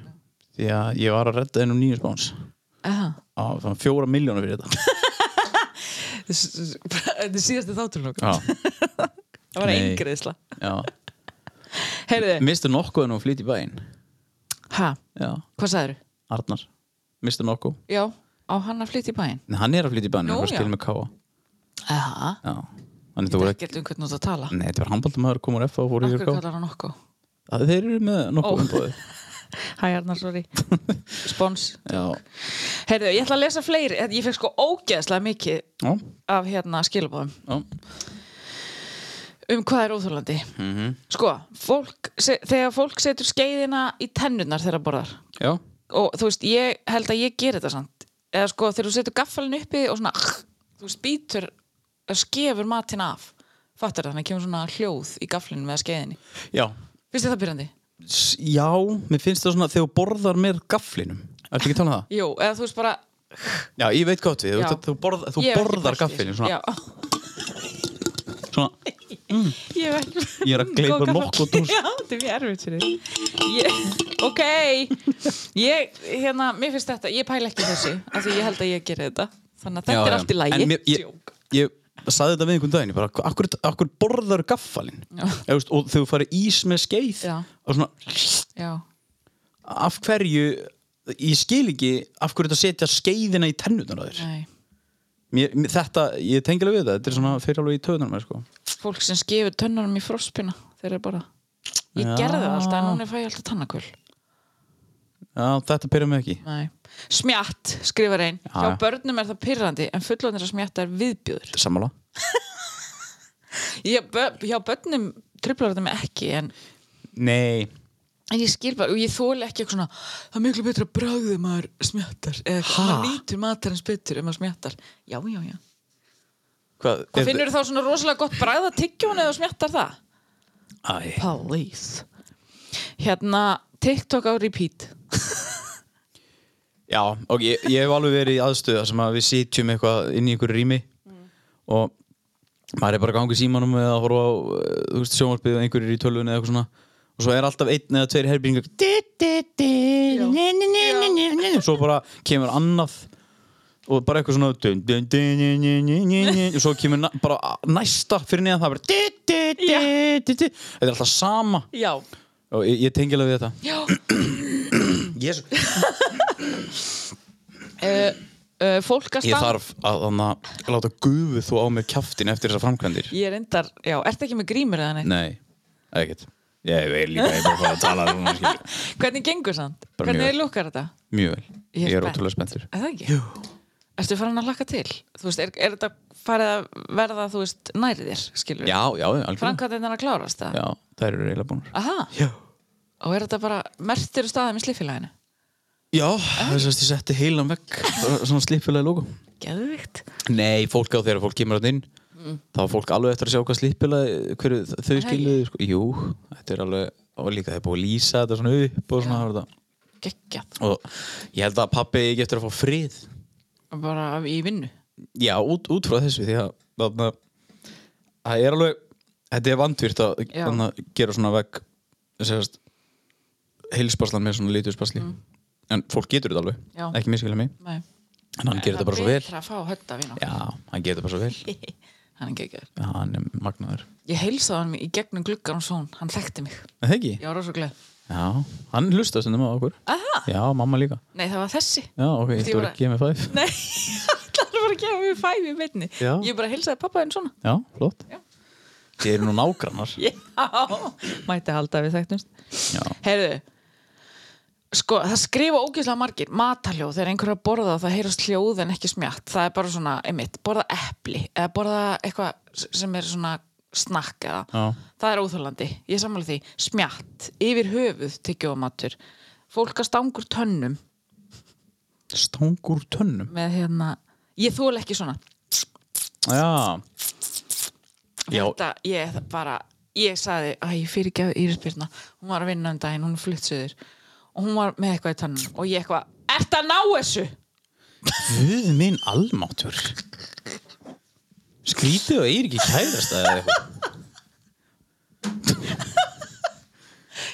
Speaker 2: Því að ég var að redda einum nýju spáns
Speaker 3: Eða,
Speaker 2: á þannig fjóra miljónu fyrir þetta
Speaker 3: þetta er síðasti þátturinn okkur.
Speaker 2: Já,
Speaker 3: Það var
Speaker 2: Ah, Nei.
Speaker 3: eingriðsla.
Speaker 2: já
Speaker 3: Heyrðu,
Speaker 2: Mistu nokko en hún flytt í bæinn
Speaker 3: hæ,
Speaker 2: Já,
Speaker 3: hvað sagður?
Speaker 2: Arnar Mistu nokko
Speaker 3: Já, á hann að flytja í bæinn.
Speaker 2: Nei, hann er að flytt í bæinn,
Speaker 3: Nú,
Speaker 2: hann var að spila
Speaker 3: já.
Speaker 2: með káa
Speaker 3: Eða,
Speaker 2: Já, þannig
Speaker 3: það
Speaker 2: þú
Speaker 3: er
Speaker 2: voru ekki
Speaker 3: ekkert um hvernig þú ert að tala.
Speaker 2: Nei, þetta var handbóltamæður, komur F og fór
Speaker 3: Af
Speaker 2: í
Speaker 3: hverju
Speaker 2: káa
Speaker 3: kallar hann okkur?
Speaker 2: Þeir eru með nokko
Speaker 3: Ó.
Speaker 2: umbóðið
Speaker 3: Hæ, Arnar, sorry. Spons.
Speaker 2: Já,
Speaker 3: Heyrðu, ég ætla að lesa fleiri. Þetta- Ég fekk sko ógeðslega mikið
Speaker 2: já,
Speaker 3: af hérna skilabóðum.
Speaker 2: já
Speaker 3: um hvað er óþúlandi
Speaker 2: Mhm.
Speaker 3: sko, fólk, se, þegar fólk setur skeiðina í tennunar þegar það borðar
Speaker 2: Já,
Speaker 3: og þú veist, ég held að ég ger þetta samt eða sko, þegar þú setur gaffalinn uppi og svona, þú veist, býtur skefur matinn af fattar þannig, kemur svona hljóð í gafflinu með skeiðinni,
Speaker 2: já
Speaker 3: finnst þér það byrjandi?
Speaker 2: S- Já, mér finnst það svona þegar þú borðar með gaflinum Ertu ekki að tala um það?
Speaker 3: Jú, eða þú veist bara
Speaker 2: Já, ég veit gott við,
Speaker 3: Já.
Speaker 2: þú, þú, borð, þú
Speaker 3: ég hef ekki
Speaker 2: borðar
Speaker 3: pælt í
Speaker 2: gaflinum
Speaker 3: þessu.
Speaker 2: svona,
Speaker 3: Já,
Speaker 2: svona,
Speaker 3: ég hef ekki
Speaker 2: Ég er að gleypa
Speaker 3: Góð
Speaker 2: nokkuð dús.
Speaker 3: gaffall. Já, þetta er mjög erfitt fyrir þig. ég, Ok Ég, hérna, mér finnst þetta Ég pæla ekki í þessu, af því ég held að ég geri þetta Þannig að
Speaker 2: Já,
Speaker 3: þetta
Speaker 2: já.
Speaker 3: er allt í
Speaker 2: En
Speaker 3: lægi
Speaker 2: mér- Ég, ég, saði þetta við einhvern daginn ég bara, akkur, akkur borðar gaffalinn Eða, veist, og þegar þú farið ís með skeið
Speaker 3: Já.
Speaker 2: og svona,
Speaker 3: Já,
Speaker 2: af hverju ég skil ekki af hverju þetta setja skeiðina í tennunar á þér
Speaker 3: nei
Speaker 2: mér, mér, þetta, ég tengi alveg við þetta þetta er svona fyrir alveg í töðunar mér sko
Speaker 3: fólk sem skefur tönnunum í frospina þeir eru bara ég
Speaker 2: Já.
Speaker 3: gerði það alltaf en núna fæ ég alltaf tannakvöl
Speaker 2: Já, þetta pyrra mig ekki
Speaker 3: Nei. smjatt, skrifar einn
Speaker 2: Já, já.
Speaker 3: hjá börnum er það pyrrandi en fullorðnir að smjatta er viðbjöður
Speaker 2: Sammála
Speaker 3: ég, bö- hjá börnum triplar þetta mig ekki en,
Speaker 2: Nei,
Speaker 3: en ég skil bara og ég þóli ekki eitthvað svona það er miklu betra að bragðið maður smjattar eða hvað lítur matarins betur ef maður smjattar já, já, já
Speaker 2: hvað,
Speaker 3: Hvað finnur þá svona rosalega gott bragð að tyggja hún eða þú smjattar það?
Speaker 2: Æ,
Speaker 3: Please Hérna, TikTok á repeat
Speaker 2: já, og ég, ég hef alveg verið í aðstöða sem að við sitjum eitthvað inn í einhverju rými og maður er bara gangið símanum eða að horfa á eh, þú veist, sjónvarpið og einhverjir í tölvunni eða eitthvað svona og svo er alltaf einn eða tveir herbyggingar og svo bara kemur annað og bara eitthvað svona dun, dun, dun, dun, dun, dun, dun, dun, og svo kemur na, bara næsta fyrir neðan það er bara du, du, du, du, du. þetta er alltaf sama
Speaker 3: Já,
Speaker 2: og ég, ég tengi alveg við þetta
Speaker 3: já
Speaker 2: yes.
Speaker 3: uh, Fólk að
Speaker 2: Ég
Speaker 3: standa
Speaker 2: þarf að, að, að láta gufu þú á mig kjaftin eftir þessar framkvæmdir
Speaker 3: Ég er endar, já, ertu ekki með grímur eða neitt?
Speaker 2: Nei, ekkert Ég er líka, ég er bara að fara að tala núna, um, skilur.
Speaker 3: Hvernig gengur samt?
Speaker 2: Bara
Speaker 3: Hvernig
Speaker 2: mjög
Speaker 3: er
Speaker 2: vel.
Speaker 3: lukkar þetta?
Speaker 2: Mjög vel,
Speaker 3: Ég er
Speaker 2: ég er
Speaker 3: spennt.
Speaker 2: ótrúlega spenntur
Speaker 3: Er það ekki? Jú Ertu farin að laka til? Þú veist, er, er þetta farið að verða, þú veist, nærið þér, skilur
Speaker 2: Já, já, algjörlega
Speaker 3: Frankvæðin er að klárast það?
Speaker 2: Já, þær eru eiginlega búnar
Speaker 3: Aha
Speaker 2: Já,
Speaker 3: Og er þetta bara mertir staðið með sliffélaginu?
Speaker 2: já þess að ég setti heilan vekk Svona slippilega logo
Speaker 3: Geðvikt
Speaker 2: Nei, fólk á þegar fólk kemur hann inn
Speaker 3: Mm.
Speaker 2: Þá er fólk alveg eftir að sjá hvað slippilega Hverju þau skiluðu, sko Jú, þetta er alveg, og líka það er búið að lýsa þetta svona upp og svona það var þetta
Speaker 3: Geggjað
Speaker 2: og ég held að pappi eigi eftir að fá frið
Speaker 3: Bara í vinnu
Speaker 2: já, út, út frá þessu því að þarna, það er alveg þetta er vandvirt að
Speaker 3: Já.
Speaker 2: þarna, gera svona vegg sérst, heilsparslan með svona lítusparsli en fólk getur þetta alveg,
Speaker 3: Mm. Já.
Speaker 2: ekki miskilja mig
Speaker 3: Nei
Speaker 2: en hann gerir þetta bara svo vel
Speaker 3: Það er betra að fá hötta vinn
Speaker 2: já, hann gerir þetta bara svo vel,
Speaker 3: Hann er geggjað
Speaker 2: já, hann er magnaður
Speaker 3: Ég heilsaði hann í gegnum gluggan og svon, hann þekkti mig.
Speaker 2: en það ekki,
Speaker 3: Ég var rosa gleð.
Speaker 2: já, hann hlusta stundum á okkur
Speaker 3: Aha,
Speaker 2: já, mamma líka
Speaker 3: nei það var þessi.
Speaker 2: já, ok,
Speaker 3: Veistu, ég
Speaker 2: þetta voru
Speaker 3: bara-
Speaker 2: ekki með fæf
Speaker 3: Nei, allar bara að gefa mér fæmi í beinni.
Speaker 2: Já.
Speaker 3: Ég bara heilsaði pappa henn svona.
Speaker 2: já, flott þið eru nú nágrannar
Speaker 3: Já, mæti halda að við þekktumst.
Speaker 2: já,
Speaker 3: Heyrðu, sko það skrifa ógeðslega margir mataljóð þegar einhverja borða það heyrast hljóð en ekki smjátt. Það er bara svona, einmitt, borða epli eða borða eitthvað sem er svona snakk eða.
Speaker 2: Já.
Speaker 3: Það er óþólandi, ég sammála því Smjatt, yfir höfuð tyggjómatur Fólk að stangur tönnum
Speaker 2: stangur tönnum
Speaker 3: með hérna Ég þól ekki svona
Speaker 2: já, já,
Speaker 3: Þetta, ég það bara Ég sagði, að ég fyrir ekki að Írisbyrna Hún var að vinna um daginn, hún er flutt söður Og hún var með eitthvað í tönnum Og ég eitthvað, ert að ná þessu?
Speaker 2: Guð minn almátur Skrítið og eigir ekki kærast að eitthvað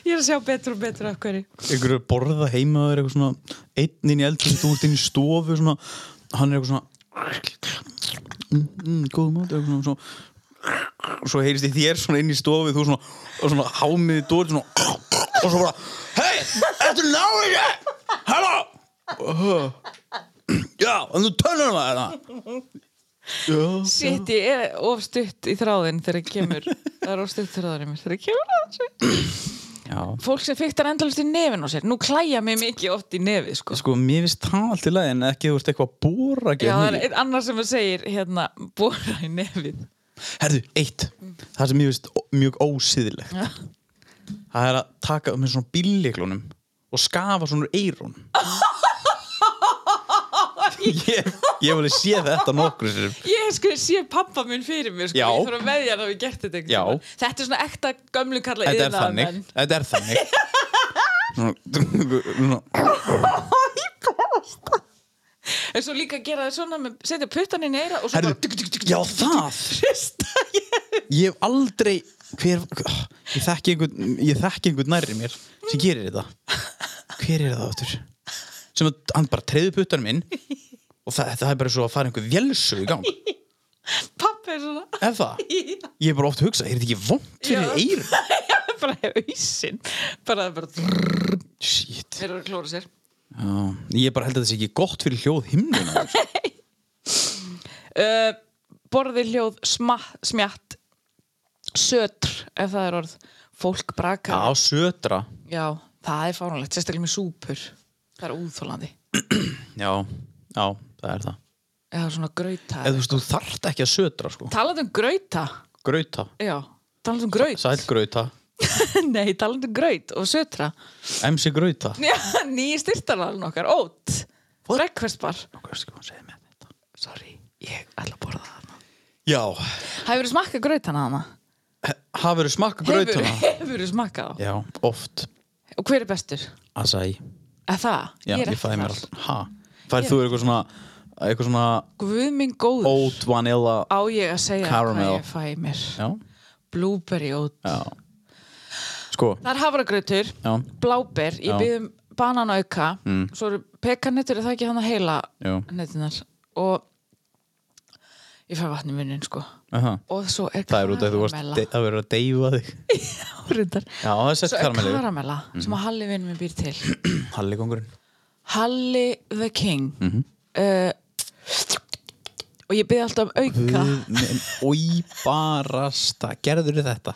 Speaker 3: Ég er að sjá betur og betur af hverju
Speaker 2: Ykkur er að borða heima og er eitthvað svona einn inn í eldur, þú ert inn í stofu svona, hann er eitthvað svona mm, mm, góð mát eitthvað svona, svona og svo heyrist í þér svona inn í stofu þú svona, og svona hámiði dóri svona, og svo bara hei, ertu náður ég hello Uh, já, en þú tönnum að þetta já
Speaker 3: Sitt, ég er ofstutt í þráðin þegar ég kemur Það er ofstutt þráðin í mér þegar ég kemur að þessu
Speaker 2: já,
Speaker 3: Fólk sem fiktar endalist í nefin á sér Nú klæja mig mikið oft í nefi, sko
Speaker 2: sko, mér finnst það allt í lagi en ekki þú ert eitthvað að bóra
Speaker 3: Já, það er
Speaker 2: ekki
Speaker 3: einn annar sem segir hérna bóra í nefið
Speaker 2: herðu, eitt, það sem mér finnst ó- mjög ósýðilegt það er að taka með svona bílliklunum og skafa svona úr eyrun ég, ég voli sé þetta nokkru sér
Speaker 3: Ég sko sé pappa minn fyrir mér sko,
Speaker 2: Já.
Speaker 3: ég þarf að veðja hann að við gert þetta
Speaker 2: Já.
Speaker 3: einhvern tímann. Þetta er svona ekta gömlu kalla
Speaker 2: þetta er þannig þetta er þannig svona, svona,
Speaker 3: En svo líka gera það svona með, setja puttan í neyra og svo
Speaker 2: herðu, já það
Speaker 3: bara
Speaker 2: ég hef aldrei hver, ég þekki einhvern ég þekki einhvern nærri mér sem gerir þetta hver er það áttur sem að hann bara treyði puttanum inn og það, það er bara svo að fara einhver vélsug í gang
Speaker 3: Pappa er svona
Speaker 2: er það? ég er bara oft að hugsa, er þetta ekki vond fyrir
Speaker 3: Já.
Speaker 2: eir?
Speaker 3: bara hausinn bara, bara drrrr,
Speaker 2: shit
Speaker 3: er að klóra sér
Speaker 2: Já, ég bara held að þetta sé ekki gott fyrir hljóð himnuna
Speaker 3: uh, borði hljóð sma, smjatt sötr ef það er orð fólk braka
Speaker 2: já, södra
Speaker 3: Já, það er fáránlegt, sérstaklega með súpur Það er úþólandi
Speaker 2: já, já, það er það
Speaker 3: Eða svona grauta
Speaker 2: eða þú veist, þú þarft ekki að södra sko
Speaker 3: Talað um grauta
Speaker 2: grauta,
Speaker 3: já, talandum graut
Speaker 2: sælgrauta,
Speaker 3: nei, talandum graut og sötra
Speaker 2: MC grauta.
Speaker 3: já, nýji styrtalalun okkar, ótt breakfast bar,
Speaker 2: Hvað skal maður segja með þetta?
Speaker 3: sorry ég ætla að borða það hana
Speaker 2: Já,
Speaker 3: hefur smakkað graut hana hana?
Speaker 2: hafur smakka grautana?
Speaker 3: hefur smakkað á
Speaker 2: Já, oft.
Speaker 3: og hver er bestur?
Speaker 2: Acai.
Speaker 3: að það,
Speaker 2: Já,
Speaker 3: ég er
Speaker 2: ég
Speaker 3: ekki
Speaker 2: fæði mér
Speaker 3: þar
Speaker 2: alltaf. Ha? Færð þú eitthvað svona, eitthvað svona
Speaker 3: guð minn góður
Speaker 2: oat vanilla?
Speaker 3: á ég að segja
Speaker 2: Caramel.
Speaker 3: hvað ég fæ mér
Speaker 2: Já,
Speaker 3: blueberry oat
Speaker 2: já. Sko,
Speaker 3: það er hafragrautur,
Speaker 2: já,
Speaker 3: bláber ég
Speaker 2: Já.
Speaker 3: byggðum bananauka mm. svo eru pekanettur er það ekki hann að heila
Speaker 2: Jú.
Speaker 3: nettunar og ég fæ vatn í munnin sko
Speaker 2: aha.
Speaker 3: og svo er
Speaker 2: Það er út af þú varst
Speaker 3: karamella
Speaker 2: að vera að deyfa þig.
Speaker 3: Reyndar.
Speaker 2: Já, það er sett
Speaker 3: svo er
Speaker 2: karamellu.
Speaker 3: karamella
Speaker 2: Mhm.
Speaker 3: sem að Halli vinnum minn býr til
Speaker 2: Hallikongurinn.
Speaker 3: Halli the King
Speaker 2: Mhm.
Speaker 3: uh, og ég byggði alltaf um auka
Speaker 2: Új, barasta. Gerður þetta?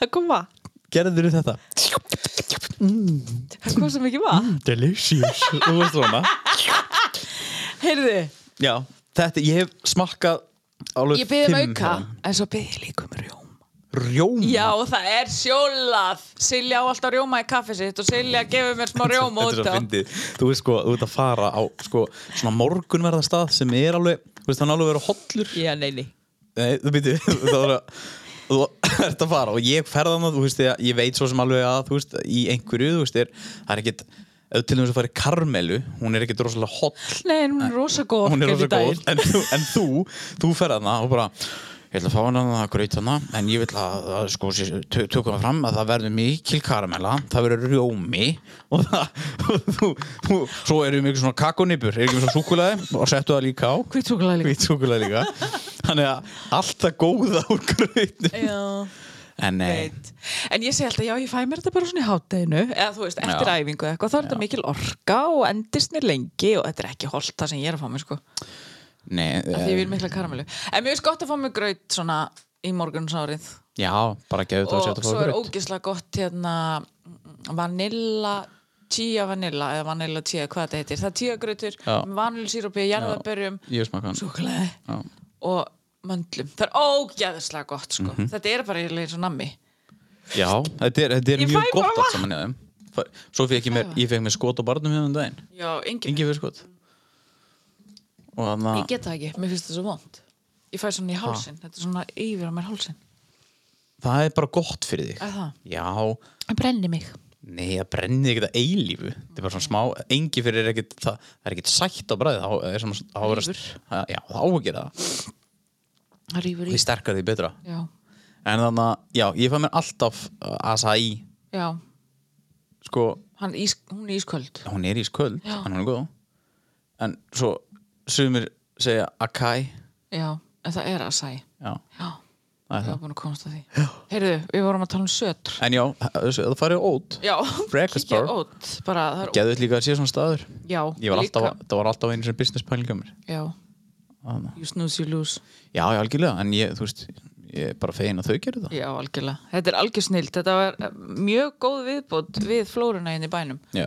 Speaker 3: það kom vatn,
Speaker 2: Gerður þetta?
Speaker 3: það kom svo mikið
Speaker 2: Mm.
Speaker 3: vatn
Speaker 2: Delicious. Þú veist svona.
Speaker 3: heyrðu,
Speaker 2: Já, þetta, ég hef smakkað alveg
Speaker 3: ég byggði um
Speaker 2: fimm
Speaker 3: auka
Speaker 2: hérna.
Speaker 3: en svo byggði ég líka um rjóm
Speaker 2: Rjóma.
Speaker 3: Já, það er sjólað Silja á alltaf rjóma í kaffi sitt og Silja gefur mér smá rjóma
Speaker 2: Þetta
Speaker 3: út
Speaker 2: er svo
Speaker 3: á
Speaker 2: fyndið. Þú veist sko, þú ert að fara á sko, svona morgunverða stað sem er alveg, þú veist, hann er alveg verið hollur.
Speaker 3: Já, nei, nei
Speaker 2: Nei, þú býttu, þá er að þú ert að fara og ég ferðan að, þú veist, ég, ég veit svo sem alveg að, þú veist, í einhverju, þú veist, er, það er ekkit, ef til þess að fara í Karmelu, hún er ekkit rosalega holl,
Speaker 3: Nei, en hún er rosa góð
Speaker 2: hún er
Speaker 3: orkan í
Speaker 2: rosalega góð,
Speaker 3: daginn.
Speaker 2: en þú, en þú, þú ferðan að og bara, ég ætla að fá hana að gröyt hana, en ég vil að, að sko, sé- tö- tökum það fram að það verður mikil karamella, það verður rjómi og það, og þú, þú, svo erum við svona kakonibur, erum við svona súkulaði og settu það líka á
Speaker 3: Hvít súkkulaði líka.
Speaker 2: hvít súkulega líka þannig að allt það góða úr gröðinu
Speaker 3: Já,
Speaker 2: en nei,
Speaker 3: veit En ég segi alltaf, já, ég fæ mér þetta bara svona í hátteginu eða þú veist, eftir
Speaker 2: Já.
Speaker 3: æfingu eða eitthvað þá er þetta mikil orka og endist mér lengi og þetta er ekki holt það sem ég er að fá mér sko af
Speaker 2: nei
Speaker 3: því ég
Speaker 2: eh,
Speaker 3: vil mikla karamelu En mér finnst gott að fá mér graut svona í morgunsárið
Speaker 2: já, bara geðu þetta að
Speaker 3: og
Speaker 2: setja
Speaker 3: svo
Speaker 2: það
Speaker 3: er
Speaker 2: gröð
Speaker 3: ógislega gott hérna vanilla tíja vanilla eða vanilla tíja, hvað þetta heitir það er tíjagrautur,
Speaker 2: Já.
Speaker 3: vanilsýrupi, jarðabörjum
Speaker 2: ég smakka hann
Speaker 3: súklaði
Speaker 2: Já.
Speaker 3: og möndlum, það er ógeðslega gott sko.
Speaker 2: Mhm.
Speaker 3: þetta er bara eiginlega eins og nammi
Speaker 2: já, þetta er, þetta er
Speaker 3: Ég fæ
Speaker 2: mjög
Speaker 3: bara
Speaker 2: gott allt saman í þeim Fa- svo fekk ég mér, ég fekk mér skot á barnum hérna um daginn
Speaker 3: já, engin,
Speaker 2: engi fyrir skot og þannig
Speaker 3: ég
Speaker 2: að
Speaker 3: get það ekki, mér finnst það svo vond ég fæ
Speaker 2: Ah.
Speaker 3: svona í hálsin, þetta er svona yfir á mér hálsin,
Speaker 2: það er bara gott fyrir
Speaker 3: Er það?
Speaker 2: þig já,
Speaker 3: það brenni mig
Speaker 2: nei, það brennir ekkert að eilífu þetta er bara svona smá, engi fyrir er ekkert það, það er ekkert sætt á bræði þá er svona, þá er að, já, þá á að gera það
Speaker 3: það rýfur í
Speaker 2: því sterkar því betra
Speaker 3: já,
Speaker 2: En þannig að, já, ég fæ mér alltaf uh, acai,
Speaker 3: já,
Speaker 2: sko,
Speaker 3: Hann ís, hún er ísköld
Speaker 2: hún er ísköld,
Speaker 3: Já.
Speaker 2: en hún er góð. En svo, sumir segja acai,
Speaker 3: já, en það er að sæ
Speaker 2: já,
Speaker 3: já,
Speaker 2: það er
Speaker 3: ég var
Speaker 2: það.
Speaker 3: búin að komast að því heyrðu, við vorum að tala um sötr
Speaker 2: En já, þessu, það farið ót.
Speaker 3: Já,
Speaker 2: Breakfast
Speaker 3: kíkja
Speaker 2: bar.
Speaker 3: át, bara, það er,
Speaker 2: Geðut líka að sé svona staður.
Speaker 3: já,
Speaker 2: Ég var
Speaker 3: líka.
Speaker 2: alltaf, það var alltaf einu sem business pælinga mér.
Speaker 3: Já,
Speaker 2: Þannig.
Speaker 3: you snooze, you lose
Speaker 2: Já, já, algjörlega, en ég, þú veist, ég er bara fegin að þau gerir það.
Speaker 3: Já, algjörlega, þetta er algjör snilt Þetta var eh, mjög góð viðbót við flóruna inn í bænum
Speaker 2: Já,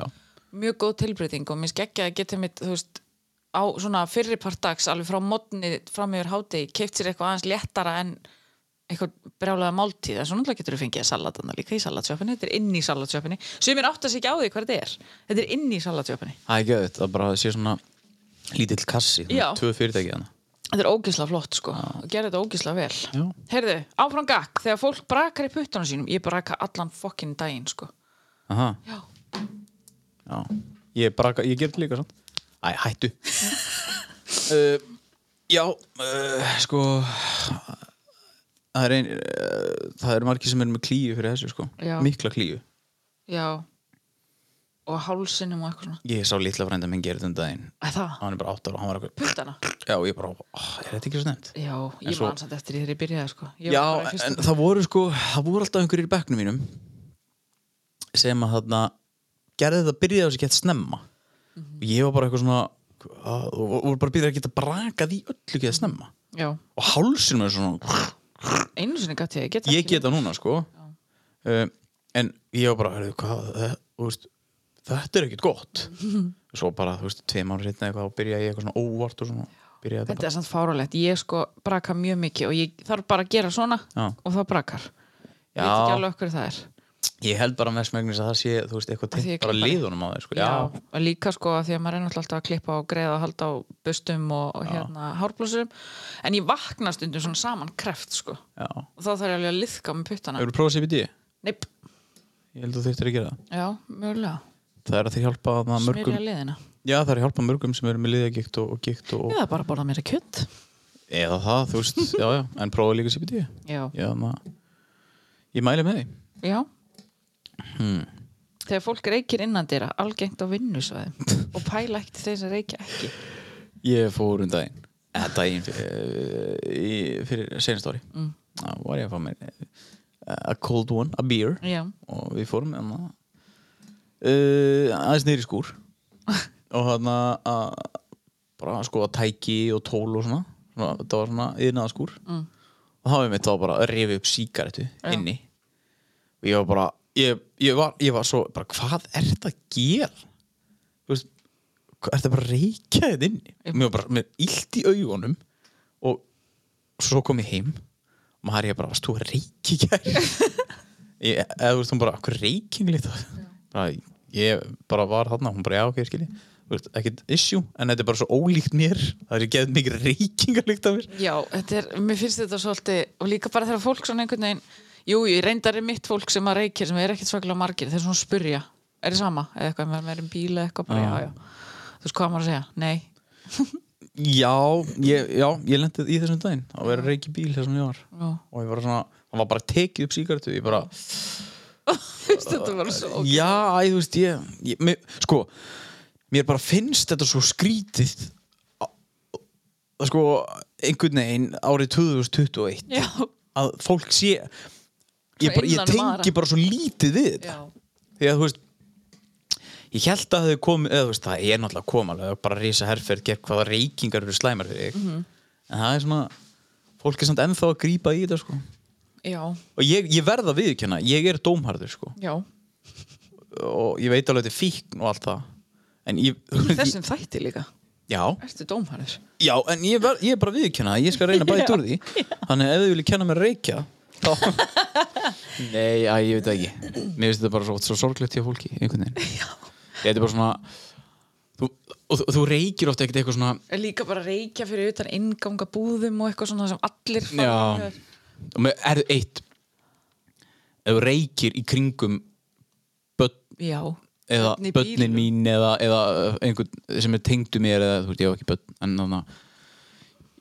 Speaker 3: Mjög góð tilbreyting og mér skekkja að geta mitt, þú veist á svona fyrri part dags, alveg frá modni fram yfir hádegi, keift sér eitthvað aðeins léttara en eitthvað brjálega máltíð en svo náttúrulega getur þú fengið salatana líka í salatsjöpunni þetta er inn í salatsjöpunni sem er átt að segja á því hvað þetta er þetta er inn í salatsjöpunni
Speaker 2: það er geðut, það bara sé svona lítill kassi, þú
Speaker 3: Já.
Speaker 2: veist, tvö fyrirtæki hana.
Speaker 3: Þetta er ógisla flott sko og gerði þetta ógisla vel
Speaker 2: Já.
Speaker 3: Heyrðu, áfram gakk, þegar fólk brakar í puttunum sínum ég braka allan fokkin daginn sko
Speaker 2: Aha,
Speaker 3: Já,
Speaker 2: já. Ég, bara, ég ger líka svona. Æ, hættu. uh, Já, uh, sko það er ein uh, það eru margir sem er með klíu fyrir þessu sko
Speaker 3: Já.
Speaker 2: mikla klíu.
Speaker 3: já og hálsinum og eitthvað svona
Speaker 2: Ég sá litla frænda minn gera þetta um daginn
Speaker 3: Æ, Það,
Speaker 2: hann er bara 8 ára og hann var eitthvað
Speaker 3: puttana
Speaker 2: Já, ég bara, oh, er þetta ekki svo nefnt?
Speaker 3: Já, ég
Speaker 2: svo-
Speaker 3: man samt eftir því þegar ég byrjaði sko ég
Speaker 2: Já,
Speaker 3: var bara í
Speaker 2: en
Speaker 3: fyrstu-
Speaker 2: það voru sko það voru alltaf einhverjir í bekknum mínum sem að þarna gerði þetta byrjaði þessi gett snemma
Speaker 3: Mhm.
Speaker 2: og ég var bara eitthvað svona hvað- og og voru bara byrjaði að geta brakað í öllu gett snemma
Speaker 3: Já,
Speaker 2: og hálsinn með svona
Speaker 3: einu sinni gæti ég, ég get
Speaker 2: ég geta núna sko uh, en ég var bara heyrðu, hvað, eh, þú veist, þetta er ekkit gott svo bara, þú veist, tveim ári setna eitthvað og byrja ég eitthvað svona óvart og svona byrja þetta
Speaker 3: Þetta er samt fáralegt, ég sko braka mjög mikið og ég þarf bara að gera svona
Speaker 2: Já.
Speaker 3: og það brakar Ég veit ekki
Speaker 2: Já,
Speaker 3: alveg okkur það er
Speaker 2: ég held bara mest megnis að það sé, þú veist, eitthvað
Speaker 3: því ég
Speaker 2: tengt bara
Speaker 3: klippa
Speaker 2: liðunum á þeir, sko, já,
Speaker 3: og líka sko af því að maður er náttúrulega alltaf að klippa og greiða og halda á bustum og, og hérna hárblósum En ég vakna stundum svona saman kreft sko og
Speaker 2: já.
Speaker 3: þá þarf ég alveg að liðka með puttana
Speaker 2: Hefur þú prófað CBD?
Speaker 3: Neip,
Speaker 2: Ég held að þú þurftir að gera það.
Speaker 3: já, mjögulega
Speaker 2: Það er að þeir hjálpa þarna mörgum,
Speaker 3: Smyrja liðina
Speaker 2: já, það er að hjálpa mörgum sem eru með liðagíkt og, og gíkt og,
Speaker 3: Eða bara borða meira kjönd
Speaker 2: eða það, þú veist, já, já, en prófa líka CBD.
Speaker 3: Já,
Speaker 2: Já, na, ég mæli með því.
Speaker 3: já
Speaker 2: Hmm.
Speaker 3: Þegar fólk reykir innan dýra, algengt á vinnusvæðum og pæla ekkert þeir sem reykja ekki
Speaker 2: Ég fór um daginn eða daginn fyrir, í, fyrir senast ári mm. var ég að fá mér eh, a cold one, a beer
Speaker 3: Já,
Speaker 2: og við fórum enna, uh, aðeins niður í skúr og hann að bara sko að tæki og tól og svona, svona það var svona yðnaða skúr mm. og það var mitt þá bara að rifi upp síkaretu inni og ég var bara ég, ég, var, ég var svo bara hvað er þetta að gera þú veist er þetta bara að reykja þetta inni mér var bara með illt í augunum og svo kom ég heim og maður er ég bara, varst þú að reykja í gær Ég- eða þú veist, hún bara, hvað reyking lít bara, ég bara var þarna hún bara, já, ok, ég skilji Þú veist, ekkert issue, en þetta er bara svo ólíkt mér það er ekki mikið reykingalíkt af mér
Speaker 3: já þetta er, mér finnst þetta svolítið og líka bara þegar fólk svona einhvern veginn Jú, ég reyndar er mitt fólk sem að reykja sem er ekkert svaklega margir, þeir svona spurja Er það sama? Eða eitthvað, maður er um bíla eitthvað bara, já, já Þú veist hvað á maður að segja? Nei,
Speaker 2: já, ég, já, ég lendið í þessum daginn að vera að reyki bíl þessum ég var
Speaker 3: já,
Speaker 2: og ég var svona, hann var bara tekið upp síkartu ég bara,
Speaker 3: finnst þetta bara svo ógeð-
Speaker 2: já, æ, þú veist ég, ég mér, sko mér bara finnst þetta svo skrítið að- að sko einhvern veginn árið 2021
Speaker 3: Já,
Speaker 2: að fólk sé ég, bara, ég
Speaker 3: innan um
Speaker 2: tengi
Speaker 3: aðra.
Speaker 2: bara svo lítið við þetta
Speaker 3: já,
Speaker 2: því að þú veist ég held að það hefði komið eða þú veist það er náttúrulega komalega bara rísa herferð gegn hvaða reykingar eru slæmar fyrir þig
Speaker 3: Mhm.
Speaker 2: en það er svona fólk er samt ennþá að grípa í þetta sko
Speaker 3: já,
Speaker 2: og ég, ég verða viðkjöna, ég er dómharður sko
Speaker 3: já
Speaker 2: og ég veit alveg þetta er fíkn og allt það en ég,
Speaker 3: Í Þessum þætti líka,
Speaker 2: já,
Speaker 3: ertu dómhæður
Speaker 2: já en ég, ver, ég er bara viðkjöna ég skal reyna bæði úr því þannig að ef þið vilja kenna mér að reykja þá nei, að, ég veit það ekki mér finnst þetta bara svo, svo sorglegt hjá fólki einhvern veginn já. þetta er bara svona þú, og, og þú reykir ofta ekkert eitthvað svona
Speaker 3: Líka bara reykja fyrir utan inganga búðum og eitthvað svona sem allir fá
Speaker 2: Já. og með erðu eitt ef þú reykir í kringum börn
Speaker 3: já,
Speaker 2: eða
Speaker 3: Börn í
Speaker 2: börnin
Speaker 3: bílum.
Speaker 2: mín eða, eða eh, einhvern sem er tengdu mér eða þú veist, ég á ekki börn en þannig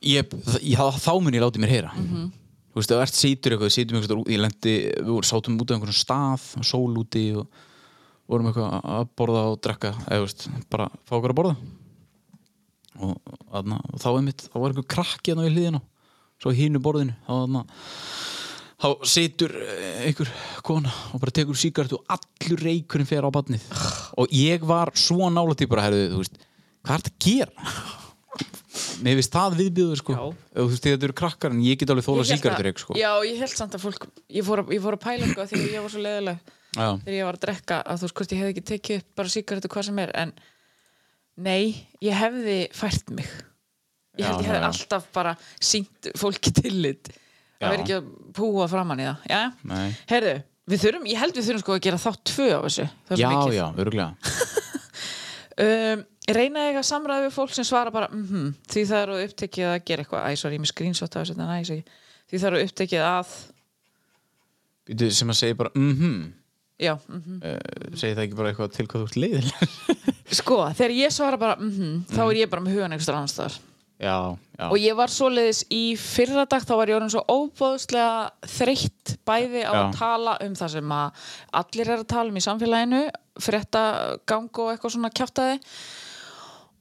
Speaker 2: ég, ég, þá- þá mun ég láti mér heyra
Speaker 3: Mhm.
Speaker 2: þú veist, ef ert sýtur eitthvað sýtum eitthvað, ég lendi, við vorum sátum út af einhvern stað, sól úti og vorum eitthvað að borða og drekka eða þú veist, bara fá okkur að borða og, aðna, og þá einmitt þá var einhver krakki hann á hliðinu svo hínu borðinu þá, aðna, þá situr eh, einhver kona og bara tekur síkart og allur reykurinn fer á batnið og ég var svo nála til bara herðu, þú veist, hvað er þetta að gera? Mér finnst það viðbjöður sko
Speaker 3: Já.
Speaker 2: Ef þú veist, þetta eru krakkar en ég get alveg þóla
Speaker 3: Ég hélt
Speaker 2: síkartur
Speaker 3: að-
Speaker 2: sko
Speaker 3: Já, ég held samt að fólk Ég fór að, ég fór að pæla eitthvað þegar ég var svo leiðileg
Speaker 2: Já.
Speaker 3: þegar ég var að drekka að þú veist hvort ég hefði ekki tekið upp bara sígarettu hvað sem er en nei, ég hefði fært mig Ég
Speaker 2: Já,
Speaker 3: held ég hefði
Speaker 2: já.
Speaker 3: alltaf bara sínt fólki tillit
Speaker 2: Já.
Speaker 3: að vera ekki að púa framann í það Já,
Speaker 2: Nei.
Speaker 3: herðu, við þurfum, ég held við þurfum sko að gera þátt tvö á þessu það er
Speaker 2: Já,
Speaker 3: svo mikið.
Speaker 2: já, örgulega
Speaker 3: Um, reyna að eiga samræði við fólk sem svara bara mm því það eru upptekið að gera eitthvað æ, sorry, ég er með screenshot af þessu þetta, næ, ég sé ekki. því það eru upptekið að
Speaker 2: sem að segja bara mhm Eh,
Speaker 3: já, mhm
Speaker 2: segir það ekki bara eitthvað til hvað þú ert leiðileg
Speaker 3: Sko, þegar ég svara bara mm þá
Speaker 2: Mhm.
Speaker 3: er ég bara með hugan einhverstað annars staðar
Speaker 2: Já, já,
Speaker 3: og ég var svoleiðis í fyrra dag þá var ég orðin svo óbóðslega þreytt bæði á
Speaker 2: Já.
Speaker 3: að tala um það sem að allir er að tala um í samfélaginu frétta gang og eitthvað svona kjáftaði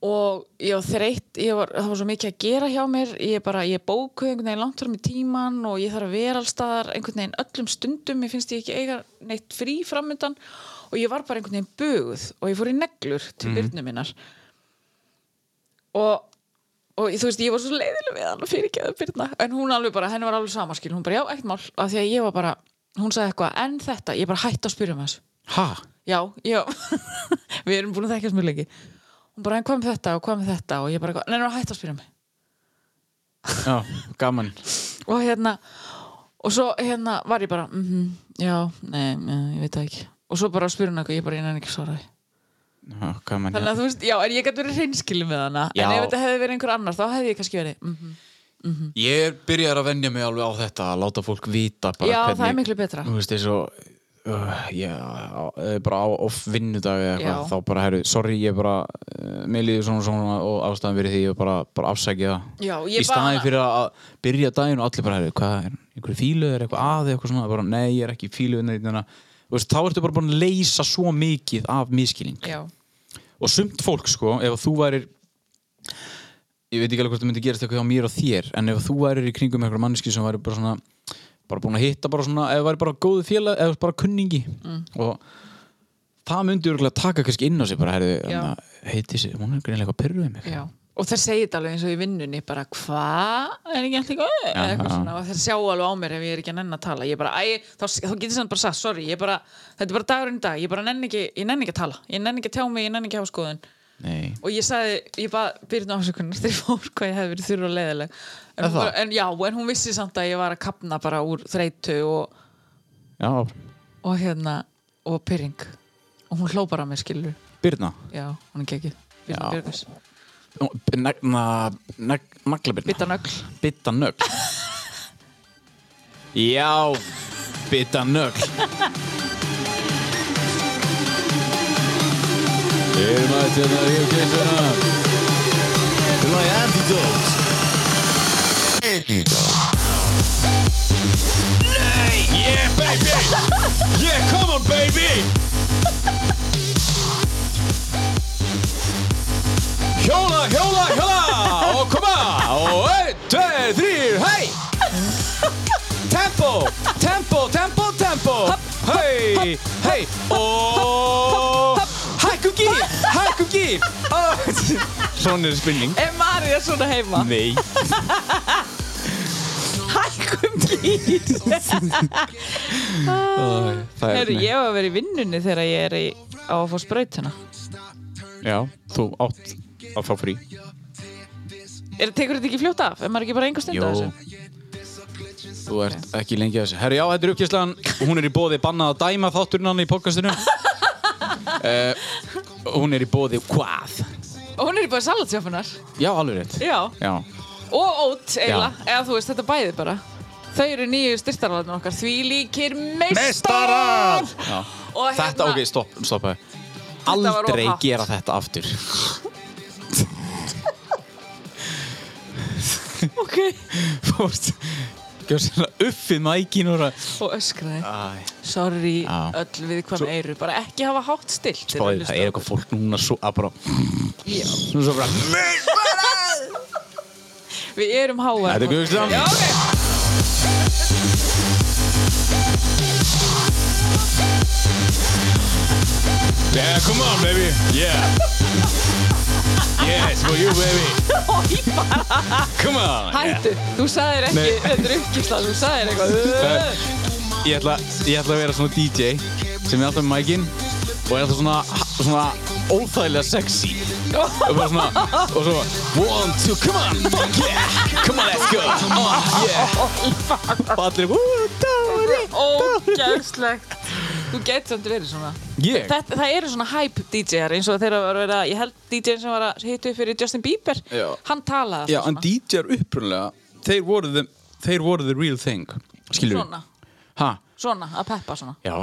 Speaker 3: og ég var þreytt ég var, það var svo mikið að gera hjá mér ég bara, ég bókuð einhvern veginn langt fram í tíman og ég þarf að vera allstaðar einhvern veginn öllum stundum, mér finnst ég ekki eiga neitt frí framöndan og ég var bara einhvern veginn buguð og ég fór í neglur til
Speaker 2: Mhm.
Speaker 3: mm minnar og, og þú veist, ég var svo leiðileg við hann og fyrirgeðu Birna, en hún alveg bara, henni var alveg samaskil, hún bara, já, ekkert mál af því að ég var bara, hún sagði eitthvað, en þetta ég bara hætti að spyrja um þessu
Speaker 2: ha,
Speaker 3: já, já, við erum búin að þekkjast mjög lengi hún bara, en hvað með þetta og hvað með þetta og ég bara, neina, hætti að spyrja um mig
Speaker 7: já, gaman
Speaker 3: og hérna og svo hérna var ég bara mm já, nei, nei, ég veit það ekki og svo bara spyrir hún eitthvað, ég bara einan ekki svara því
Speaker 7: já, gaman
Speaker 3: þannig að þú veist, já, en ég gæti verið hreinskilin með hana en
Speaker 7: Já.
Speaker 3: ef þetta hefði verið einhver annar, þá hefði ég kannski verið mm
Speaker 2: Ég er byrjar að venja mig alveg á þetta að láta fólk vita bara
Speaker 3: já,
Speaker 2: hvernig
Speaker 3: það er miklu betra
Speaker 2: Þú veist, eins og uh, ég á- eh, bara á off vinnudag eða
Speaker 3: Já.
Speaker 2: eitthvað, þá bara, herru, sorry, ég bara uh, mér líður svona og svona og ástæðan fyrir því og bara, bara afsækja það
Speaker 3: Já,
Speaker 2: í
Speaker 3: ég
Speaker 2: staðin
Speaker 3: bara-
Speaker 2: fyrir að byrja daginn og allir bara, herru, hvað er, einhverju fílu er eitthvað að eða eitthvað svona, bara, nei, ég er ekki í fílu nei, nei, nei. Þú veist, þá ertu bara búin að leysa svo mikið af miskilning
Speaker 3: já,
Speaker 2: og sumt fólk sko, ef þú værir ég veit ekki alveg hvort það myndi gerast eitthvað hjá mér og þér, en ef þú værir í kringum einhverja manneski sem væri bara svona bara búin að hitta bara svona, ef væri bara góðu félag eða bara kunningi
Speaker 3: Mm.
Speaker 2: og það myndi örgulega taka kannski inn á sig bara, herðu,
Speaker 3: Já.
Speaker 2: hérna, heiti sig hún er greinilega að pyrruði mig
Speaker 3: já og þeir segja þetta alveg eins og í vinnunni bara, hvað, er ekki allir góð eða eitthvað
Speaker 2: já.
Speaker 3: svona, og þeir sjá alveg á mér ef ég er ekki að nenn að tala, ég bara, æ, þá, þá getur það bara sagt, sorry, ég bara, þetta er bara dagurinn í dag ég bara nenn ekki, ég nenn ekki að tala, ég nenn ekki að tjá mig ég nenn ekki að hafa skoðun
Speaker 2: nei,
Speaker 3: og ég sagði, ég bara byrjun ásökunar þegar ég fór hvað ég hefði verið þurru og leiðileg en, hún bara, en já, en hún vissi samt að ég var að kapna bara úr þreytu og,
Speaker 2: já,
Speaker 3: og hérna og pyrring og hún hló bara að mér skilur
Speaker 2: Birna
Speaker 3: já, hún er gekkið, Birna Björgus
Speaker 2: negna, neg, nagla Birna
Speaker 3: Bitta nögl,
Speaker 2: Bitta nögl Já Bitta nögl Við erum að tjána hérna í okkeisuna Til að ég antidote Nei Yeah baby Yeah come on baby Hjóla, hjóla, hjóla Og koma Og ein, tveir, þrýr, hei Tempo, tempo, tempo, tempo Hei, hei Og Hækku gír, hækku gír Og- Svona er spilning
Speaker 3: er Marja svona heima
Speaker 2: Nei
Speaker 3: hækum gýr
Speaker 2: Það
Speaker 3: Heru, ég var að vera í vinnunni þegar ég er í, á að fá sprautuna
Speaker 2: Já, þú átt að fá frí
Speaker 3: er, tekur þetta ekki fljótt af, er maður ekki bara einhver stund
Speaker 2: Jó
Speaker 3: að þessu
Speaker 2: Þú ert ekki lengi að þessu Herru, já, þetta er uppkjæslan Hún er í bóði bannað að dæma þátturinn hann í podcastinu uh, Hún er í bóði hvað?
Speaker 3: og hún er í búið salatsjáfunar
Speaker 2: Já, alveg rétt
Speaker 3: já,
Speaker 2: Já,
Speaker 3: og ót eiginlega, eða þú veist þetta bæði bara þau eru nýju styrtarvarnir okkar því líkir meistarar
Speaker 2: Já.
Speaker 3: og hérna,
Speaker 2: Þetta, ok, stopp, stopp
Speaker 3: var of
Speaker 2: Aldrei
Speaker 3: hátt.
Speaker 2: gera þetta aftur
Speaker 3: okay.
Speaker 2: Fórst Gjörð svona uppið mækin og það
Speaker 3: og öskraði sorry
Speaker 2: Já.
Speaker 3: öll við hvað eiru bara ekki hafa hátt stilt þeir
Speaker 2: Það
Speaker 3: eru
Speaker 2: er eitthvað fólk núna svo að bara
Speaker 3: Já.
Speaker 2: Nú svo bara
Speaker 3: hlustendur. við erum háa
Speaker 2: Þetta er Guðsland
Speaker 3: já ok
Speaker 2: Yeah, come on baby Yeah Yes, for you baby Come on
Speaker 3: Hættu, þú sagðir ekki,
Speaker 2: Nei.
Speaker 3: þetta er uppkýrsla, þú sagðir eitthvað
Speaker 2: Ég ætla, ég ætla að vera svona DJ sem er alltaf með mækin og er alltaf svona, svona óþægilega sexy og bara svona og svo one, two, come on, fuck yeah come on, let's go, oh yeah og allir, woo, dári
Speaker 3: Ógæðslegt Þú getur samt verið svona
Speaker 2: Ég?
Speaker 3: Þetta, það eru svona hype DJ-ar eins og þeirra var verið að, ég held DJ-in sem var að hittu fyrir Justin Bieber,
Speaker 2: Já.
Speaker 3: hann talaði
Speaker 2: Já,
Speaker 3: alltaf
Speaker 2: en DJ-ar upprunlega þeir voru the, þeir voru the real thing skilur
Speaker 3: svona,
Speaker 2: Ha?
Speaker 3: svona, að peppa svona.
Speaker 2: Já,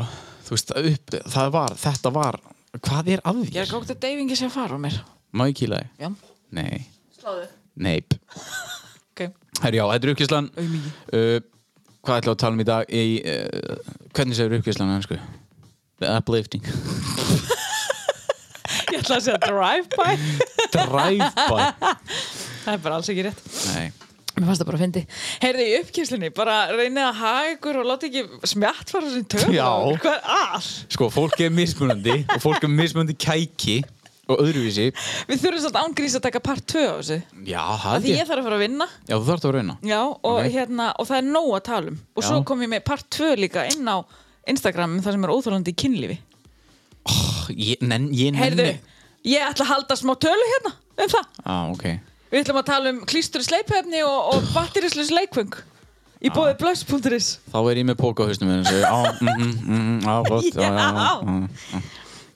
Speaker 2: þú veist, það upp, það var, þetta var hvað er að
Speaker 3: Ég er
Speaker 2: þér?
Speaker 3: gótt að deyfingi sé að fara á mér.
Speaker 2: Má ég kýla þig?
Speaker 3: Já,
Speaker 2: Nei,
Speaker 3: sláðu.
Speaker 2: neip
Speaker 3: Ok,
Speaker 2: Herri já, þetta er uppkvíslan uh, Hvað ætlaðu að tala um í dag í, uh, Hvernig segir uppkvíslan hansku? The uplifting
Speaker 3: ég ætla að segja drive-by.
Speaker 2: Drive-by
Speaker 3: það er bara alls ekki rétt.
Speaker 2: Nei
Speaker 3: Mér fannst það bara að fyndi. Heyrðu, í uppkyrslinni, bara reynið að haga ykkur og láta ekki smjátt fara sem töfum.
Speaker 2: Já.
Speaker 3: Hvað er að?
Speaker 2: Sko, fólk er mismunandi og fólk er mismunandi kæki og öðruvísi
Speaker 3: Við þurfum svolítið ángrís að taka part 2 á þessu.
Speaker 2: Já,
Speaker 3: Af
Speaker 2: það
Speaker 3: Því
Speaker 2: er
Speaker 3: ég þarf að fara að vinna.
Speaker 2: Já, þú þarfst að rauna
Speaker 3: Já, og,
Speaker 2: Ok.
Speaker 3: hérna, og það er nóg að tala um. Og
Speaker 2: Já.
Speaker 3: svo kom ég með part 2 líka inn á Instagram þar sem er óþólandi í kynlífi.
Speaker 2: ég, nen, ég nenni
Speaker 3: Heyrðu, ég ætla að halda smá tölu hérna um það.
Speaker 2: Á, Ah, ok
Speaker 3: Við ætlum að tala um klístur sleipefni og, og batteríslis leikvöng
Speaker 2: Ah.
Speaker 3: í bóði blöss.is
Speaker 2: Þá er ég með póka á hausnum minn og segja, á, mm, mm, mm, á, gott, já, já, já, mm, mm.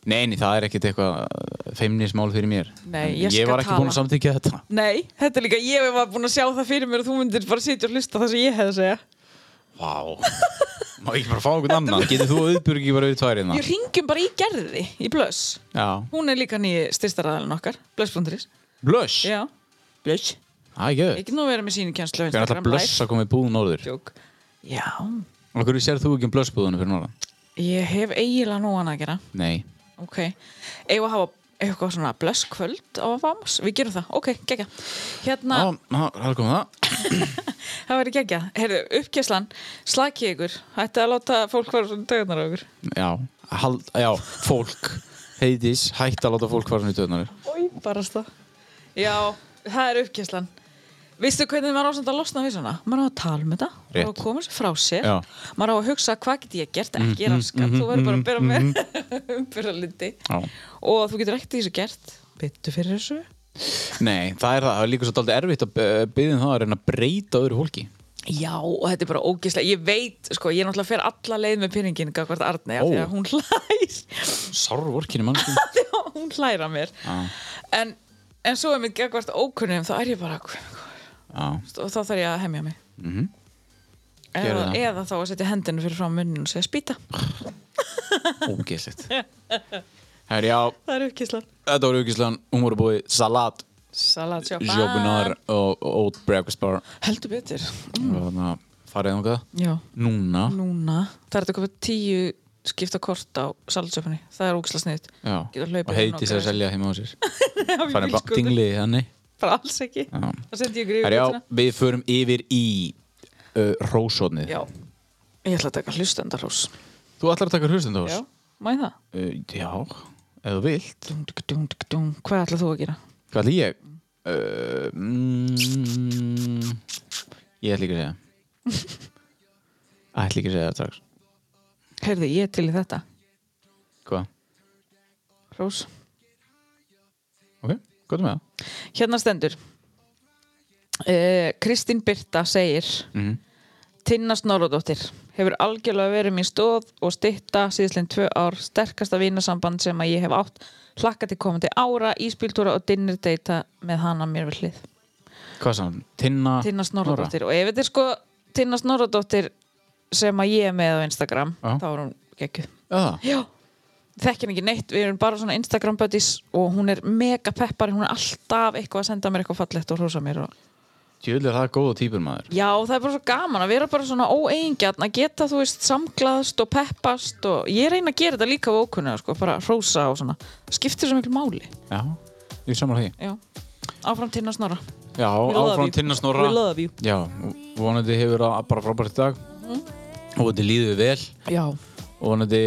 Speaker 2: Neini, það er ekkert eitthvað eh, feimnismál fyrir mér.
Speaker 3: Nei,
Speaker 2: En
Speaker 3: ég skal
Speaker 2: Ég var ekki búinn
Speaker 3: tala.
Speaker 2: að samþykja þetta.
Speaker 3: Nei, þetta er líka, ég var búin að sjá það fyrir mér og þú myndir bara sitja og hlusta það sem ég hefði að segja
Speaker 2: Vá. Má ég ekki bara fá einhvern annan? Getur þú auðbjörg ekki bara auðvitað hérna?
Speaker 3: Ég ringjum bara í gerði í blöss
Speaker 2: Já.
Speaker 3: Hún er líka nýji styrstaraðalinn okkar, blöss.is
Speaker 2: Blush.
Speaker 3: Já, blöss
Speaker 2: Það er ekki
Speaker 3: Ég get nú verið með sínu kjænslu
Speaker 2: Það er alltaf blöss að koma í búðun orður.
Speaker 3: Jók. Já,
Speaker 2: Og hverju sér þú ekki um blössbúðunum fyrir norðan?
Speaker 3: ég hef eiginlega nú hann að gera
Speaker 2: Nei.
Speaker 3: Ok, eigum við að hafa eitthvað svona blösskvöld á Vamos, við gerum það, ok, geggja Hérna,
Speaker 2: Já, já, það kom það.
Speaker 3: það verður geggja Heyrðu, uppkjæslan, slakið ykkur Hætti að láta fólk fara svona dögnar á ykkur
Speaker 2: Já, hald, já, fólk. Heiðis, hætt að láta fólk fara svona í döðnar.
Speaker 3: Í barasta Já, það er uppkjæslan Vistu hvernig maður á samt að losna við svona? Maður á að tala um þetta, maður á að
Speaker 2: Rétt.
Speaker 3: koma sér frá sér
Speaker 2: Já. Mhm,
Speaker 3: Maður á að hugsa hvað get ég gert, ekki er raskat Þú verður bara að byrja með umbyrðalindi
Speaker 2: Já.
Speaker 3: Og þú getur ekkert í þessu gert Byttu fyrir þessu
Speaker 2: Nei, það er það. Það er líka svolítið erfitt að byggja um það að reyna að breyta öðru hólki.
Speaker 3: Já, og þetta er bara ógislega, ég veit, sko, ég náttúrulega fer alla leið með pinningin gagvart Arnei, af því
Speaker 2: Ó.
Speaker 3: að hún hlær,
Speaker 2: Sárvorkinni mannskjum.
Speaker 3: af því að hún hlær að mér. En, en svo er mér gagvart ókunnum, þá er ég bara,
Speaker 2: Já,
Speaker 3: og þá þarf ég að hemja mig. -hmm.
Speaker 2: Mhm. Gerðu
Speaker 3: eða,
Speaker 2: það.
Speaker 3: eða þá að setja hendinu fyrir fram munnum og segja spýta.
Speaker 2: ógeðslegt. Herri, já,
Speaker 3: Það er uppkíslan.
Speaker 2: þetta var aukislan, hún voru búið salat,
Speaker 3: Salat sjoppa.
Speaker 2: sjókunar og old breakfast bar.
Speaker 3: Heldur betur.
Speaker 2: Og þannig að farið þangað.
Speaker 3: Já,
Speaker 2: Núna.
Speaker 3: núna. Það er þetta komið tíu skipta kort á salatsjöfunni. Það er ógislega sniðt.
Speaker 2: Já,
Speaker 3: Getur hlaupið
Speaker 2: og heiti sér
Speaker 3: nokkrar-
Speaker 2: að selja heima á sér. Farið bara dingli þannig.
Speaker 3: sko. Bara alls ekki.
Speaker 2: Já.
Speaker 3: Það sendi ég grífið.
Speaker 2: Herri, já, við förum yfir í uh, rósónið.
Speaker 3: Já, ég ætla að taka hlustendarhús.
Speaker 2: Þú ætlar að taka hlustendós?
Speaker 3: Já, má ég það?
Speaker 2: Uh, já, ef þú vilt.
Speaker 3: Dung, dung, dung, dung, dung. Hvað ætla þú að gera?
Speaker 2: Hvað ætla ég? Uh, mm, ég ætla ekki að segja. ætla ekki að segja það strax.
Speaker 3: Heyrðu, ég er til í þetta.
Speaker 2: Hvað?
Speaker 3: Rós.
Speaker 2: Ok, gott með það.
Speaker 3: Hérna stendur. Uh, Kristín Birta segir
Speaker 2: Mhm.
Speaker 3: Tinna Snorrodóttir hefur algjörlega verið mín stóð og stytta síðslein tvö ár sterkasta vinasamband sem að ég hef átt hlakka til komandi ára, íspíltúra og dinner data með hana mér við hlið.
Speaker 2: Hvað sann? Tinna...
Speaker 3: Tinna Snorradóttir og ef þetta er sko Tinna Snorradóttir sem að ég er með á Instagram
Speaker 2: Já.
Speaker 3: þá er hún geggjuð
Speaker 2: Nora? Já.
Speaker 3: Já, þekkir ekki neitt, við erum bara svona Instagram buddies og hún er mega peppari, hún er alltaf eitthvað að senda mér eitthvað fallegt og hrósa mér og...
Speaker 2: Tjöðli er það góða týpur maður.
Speaker 3: Já, það er bara svo gaman að vera bara svona óeingjarn að geta, þú veist, samglaðst og peppast og ég reyna að gera þetta líka á ókunna, sko, bara hrósa og svona skiptir svo miklu máli,
Speaker 2: Já, ég er samar því.
Speaker 3: já Áfram Tinna Snorra
Speaker 2: Já,
Speaker 3: We love
Speaker 2: áfram
Speaker 3: you.
Speaker 2: Tinna Snorra.
Speaker 3: We love you Mhm.
Speaker 2: Já, vonandi hefur það bara frábært í dag. Og þetta líður þér vel.
Speaker 3: Já,
Speaker 2: Og vonandi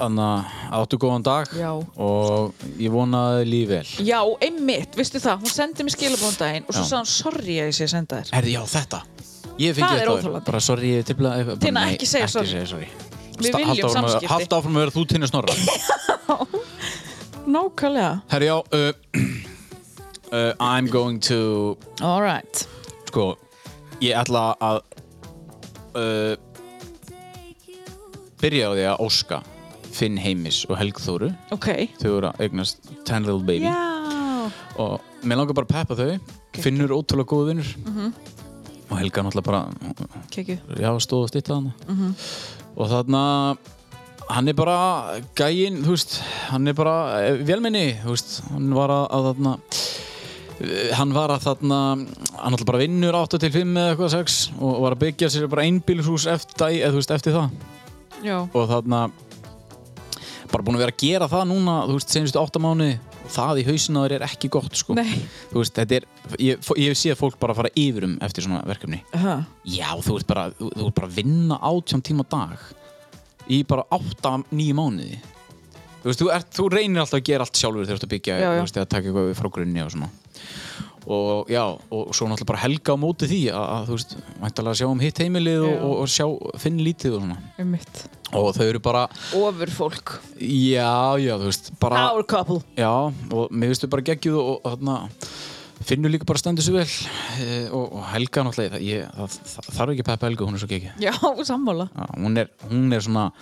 Speaker 2: anna, áttu góðan dag.
Speaker 3: Já.
Speaker 2: Og ég vona að þið líði vel.
Speaker 3: já, einmitt, veistu það, hún sendi mér skilabóðan daginn og svo
Speaker 2: Já.
Speaker 3: sagði hún, sorry að ég sé að senda þér
Speaker 2: Herði, já, þetta. Ég fengi
Speaker 3: Það
Speaker 2: þetta
Speaker 3: er
Speaker 2: á þér.
Speaker 3: óþolandi.
Speaker 2: Bara sorry, ég tipla... bara
Speaker 3: Tinna,
Speaker 2: nei,
Speaker 3: ekki segja sorry.
Speaker 2: Ekki segja sorry.
Speaker 3: Við
Speaker 2: Sta-
Speaker 3: viljum
Speaker 2: halda áfram að-
Speaker 3: samskipti.
Speaker 2: Halda áfram að vera þú Tinna Snorra.
Speaker 3: Nákvæmlega
Speaker 2: Herri, já, uh, uh, I'm going to,
Speaker 3: All right
Speaker 2: sko, ég ætla að uh, byrja á því að óska Finn Heimis og Helgþóru,
Speaker 3: Ok
Speaker 2: þau eru að eignast 10 Little Baby
Speaker 3: Já
Speaker 2: og mér langar bara að peppa þau, Finnur ótrúlega góðu vinnur
Speaker 3: Mhm.
Speaker 2: og Helga náttúrulega bara,
Speaker 3: Kekju
Speaker 2: já, stóð og stýtta hana og þarna hann er bara gæinn, þú veist hann er bara eh, velmenni þú veist, hann var að, að þarna eh, hann var að þarna hann alltaf bara vinnur 8 til 5 eða eitthvað 6 og var að byggja sér bara einbílshús eftir, eða, þú veist, eftir það
Speaker 3: Já
Speaker 2: og þarna bara búin að vera að gera það núna þú veist, senstu 8 mánu það í hausina þér er ekki gott sko
Speaker 3: Nei.
Speaker 2: þú veist, þetta er, ég, ég hef séð fólk bara fara yfir um eftir svona verkefni
Speaker 3: Ha.
Speaker 2: Já, þú ert bara, þú, þú ert bara að vinna átján tíma á dag í bara átta, nýju mánuði Þú veist, þú, ert, þú reynir alltaf að gera allt sjálfur þegar þú ert að byggja,
Speaker 3: Já, já.
Speaker 2: þú veist, að taka eitthvað við frá grunni og svona og já, og svo náttúrulega bara helga á móti því að, að þú veist, mæntalega sjá um hitt heimilið og,
Speaker 3: Já.
Speaker 2: og, og sjá, finn lítið og svona
Speaker 3: Um mitt
Speaker 2: og þau eru bara,
Speaker 3: Ofur fólk
Speaker 2: já, já, þú veist bara,
Speaker 3: couple
Speaker 2: já, og mér veistu bara geggjuð og, og þarna Finnur líka bara stendur svo vel eh, og, og Helga náttúrulega það, ég, það, það þarf ekki að peppa Helga, hún er svo ekki
Speaker 3: Já, sammála
Speaker 2: hún er, hún er svona